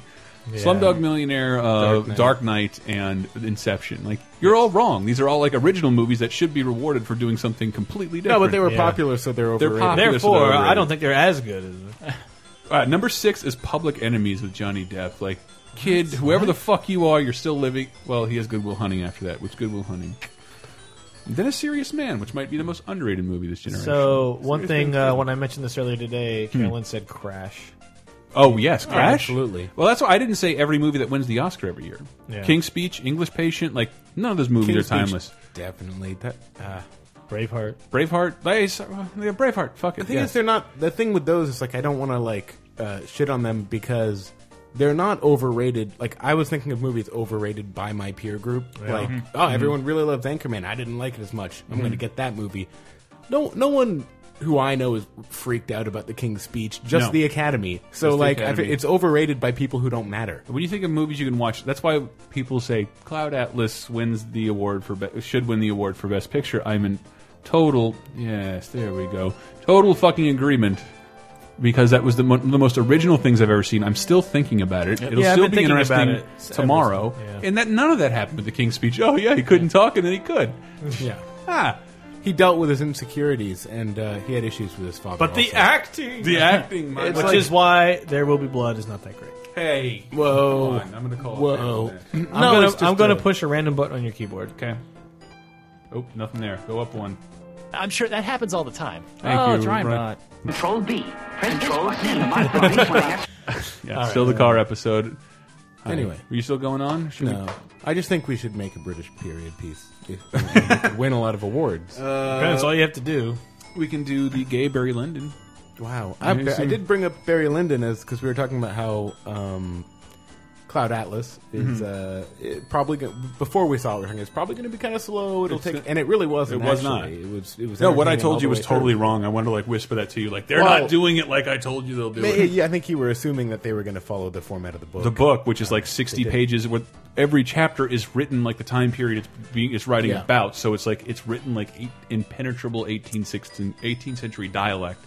Yeah. Slumdog Millionaire, uh, Dark, Dark Knight. Knight. and Inception. Like you're all wrong. These are all like original movies that should be rewarded for doing something completely different. No, but they were Yeah. popular, so they're overrated. popular, so they're Therefore, I overrated. don't think they're as good as. All right, number six is Public Enemies with Johnny Depp. Like, kid, whoever the fuck you are, you're still living. Well, he has Goodwill Hunting after that, which Goodwill Hunting. And then a serious man, which might be the most underrated movie this generation. So one Serious thing Man's uh, good. when I mentioned this earlier today, Hmm. Carolyn said Crash. Oh yes, Oh, Crash. absolutely. Well, that's why I didn't say every movie that wins the Oscar every year. Yeah. King's Speech, English Patient, like none of those movies King's are Speech, timeless. Definitely that. Uh, Braveheart. Braveheart. They, yeah, Braveheart. Fuck it. The thing yeah. is, they're not. The thing with those is like I don't want to like uh, shit on them because they're not overrated. Like I was thinking of movies overrated by my peer group. Yeah. Like Mm-hmm. Mhm. oh, Mhm. everyone really loves Anchorman. I didn't like it as much. I'm Mhm. going to get that movie. No, no one who I know is freaked out about the King's Speech. Just No. the Academy. So Just the like I Academy. fe- it's overrated by people who don't matter. When you think of movies you can watch, that's why people say Cloud Atlas wins the award for be should win the award for best picture. I'm in total yes, there we go. Total fucking agreement because that was the, mo the most original things I've ever seen. I'm still thinking about it. It'll Yeah, I've still been be thinking about interesting it ever- tomorrow. yeah. And that none of that happened with the King's speech. Oh yeah, he couldn't talk and then he could. Yeah. Ah. He dealt with his insecurities and uh, he had issues with his father. But the also. acting, The acting, my which God. is why There Will Be Blood is not that great. Hey, Whoa. Come on, I'm gonna call. Whoa. I'm I'm gonna, I'm gonna push a random button on your keyboard. Okay. Oh, nothing there. Go up one. I'm sure that happens all the time. Thank oh, you, it's Ryan Ryan. Bot. Control B. Press Control C. Yeah, All right. still the car episode. Hi. Anyway. are you still going on? Should no, we- I just think we should make a British period piece. Uh, It- it could win a lot of awards. Uh, that's all you have to do. We can do the gay Barry Lyndon. Wow, I, Yeah, I so- did bring up Barry Lyndon as because we were talking about how um, Cloud Atlas is uh, it probably go- before we saw it, we were thinking it's probably going to be kind of slow. It'll It's take, gonna- and it really wasn't. It was actually. not. It was. It was. no, what I entertaining all told the you was way totally through. wrong. I wanted to like whisper that to you, like they're Well- not doing it like I told you they'll do Ma- it. Yeah, I think you were assuming that they were going to follow the format of the book. The book, which is like sixty They did. pages, with every chapter is written like the time period it's being it's writing Yeah. about. So it's like it's written like eight, impenetrable 18th, 16th 18th century dialect,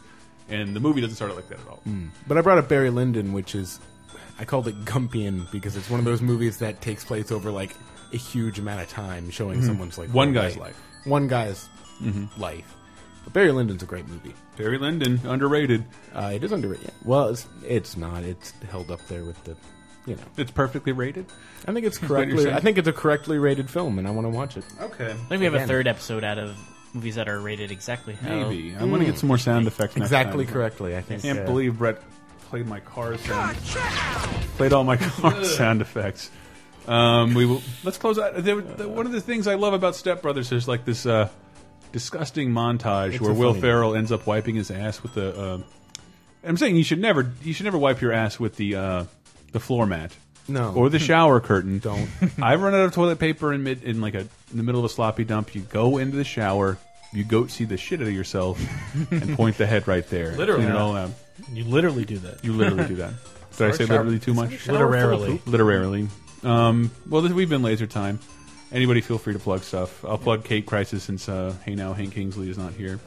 and the movie doesn't start out like that at all. But I brought up Barry Lyndon, which is I called it Gumpian because it's one of those movies that takes place over like a huge amount of time, showing Mhm. someone's like One whole guy's life. one guy's Mhm. life. But Barry Lyndon's a great movie. Barry Lyndon, underrated. Uh, it is underrated. yeah. Well, it's, it's not. It's held up there with the, you know, It's perfectly rated. I think it's Is what you're correctly. saying? I think it's a correctly rated film, and I want to watch it. Okay. I think we have a Again. third episode out of movies that are rated exactly how. Maybe. I want to get some more sound effects. next Exactly time. correctly, I think, can't uh, believe Brett played my car sound. Played all my car sound effects. Um, we will. Let's close out. There, the, one of the things I love about Step Brothers is like this uh, disgusting montage It's where a Will funny- Ferrell ends up wiping his ass with the. Uh, I'm saying you should never you should never wipe your ass with the uh, the floor mat. No. Or the shower curtain. Don't. I've run out of toilet paper in mid in like a in the middle of a sloppy dump. You go into the shower, you go see the shit out of yourself, and point the head right there. um, Literally. Clean it all out. You literally do that. You literally do that. Did I Or say shower- literally too Is much? that a shower Literarily. full of poop? Literarily. Um, well, this, we've been laser time. Anybody feel free to plug stuff. I'll plug Kate Crisis since uh, Hey Now Hank Kingsley is not here.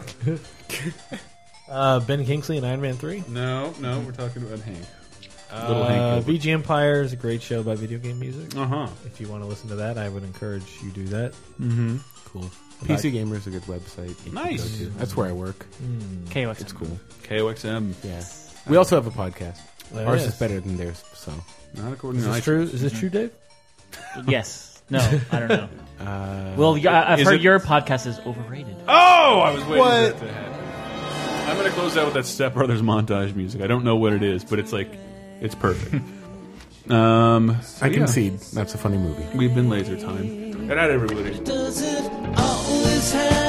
Uh, ben Kingsley and Iron Man Three. No, no, we're talking about Hank. Uh, Little Hank VG Empire is a great show by Video Game Music. Uh huh. If you want to listen to that, I would encourage you do that. Mhm. Cool. PC Gamer is a good website. you can Nice. go to. That's where I work. Mm. KOXM. It's cool. KOXM. Yeah. We also have a podcast. There Ours it is is. better than theirs, so. Not according Is to this iTunes. true? Is this true, Dave? Yes. No, I don't know. Uh, well, y- I- I've is heard it- your podcast is overrated. Oh, I was waiting What? for that to happen. I'm going to close out with that Step Brothers montage music. I don't know what it is, but it's like, it's perfect. um, so I yeah. concede. That's a funny movie. We've been laser time. Good night, everybody. Does it always have?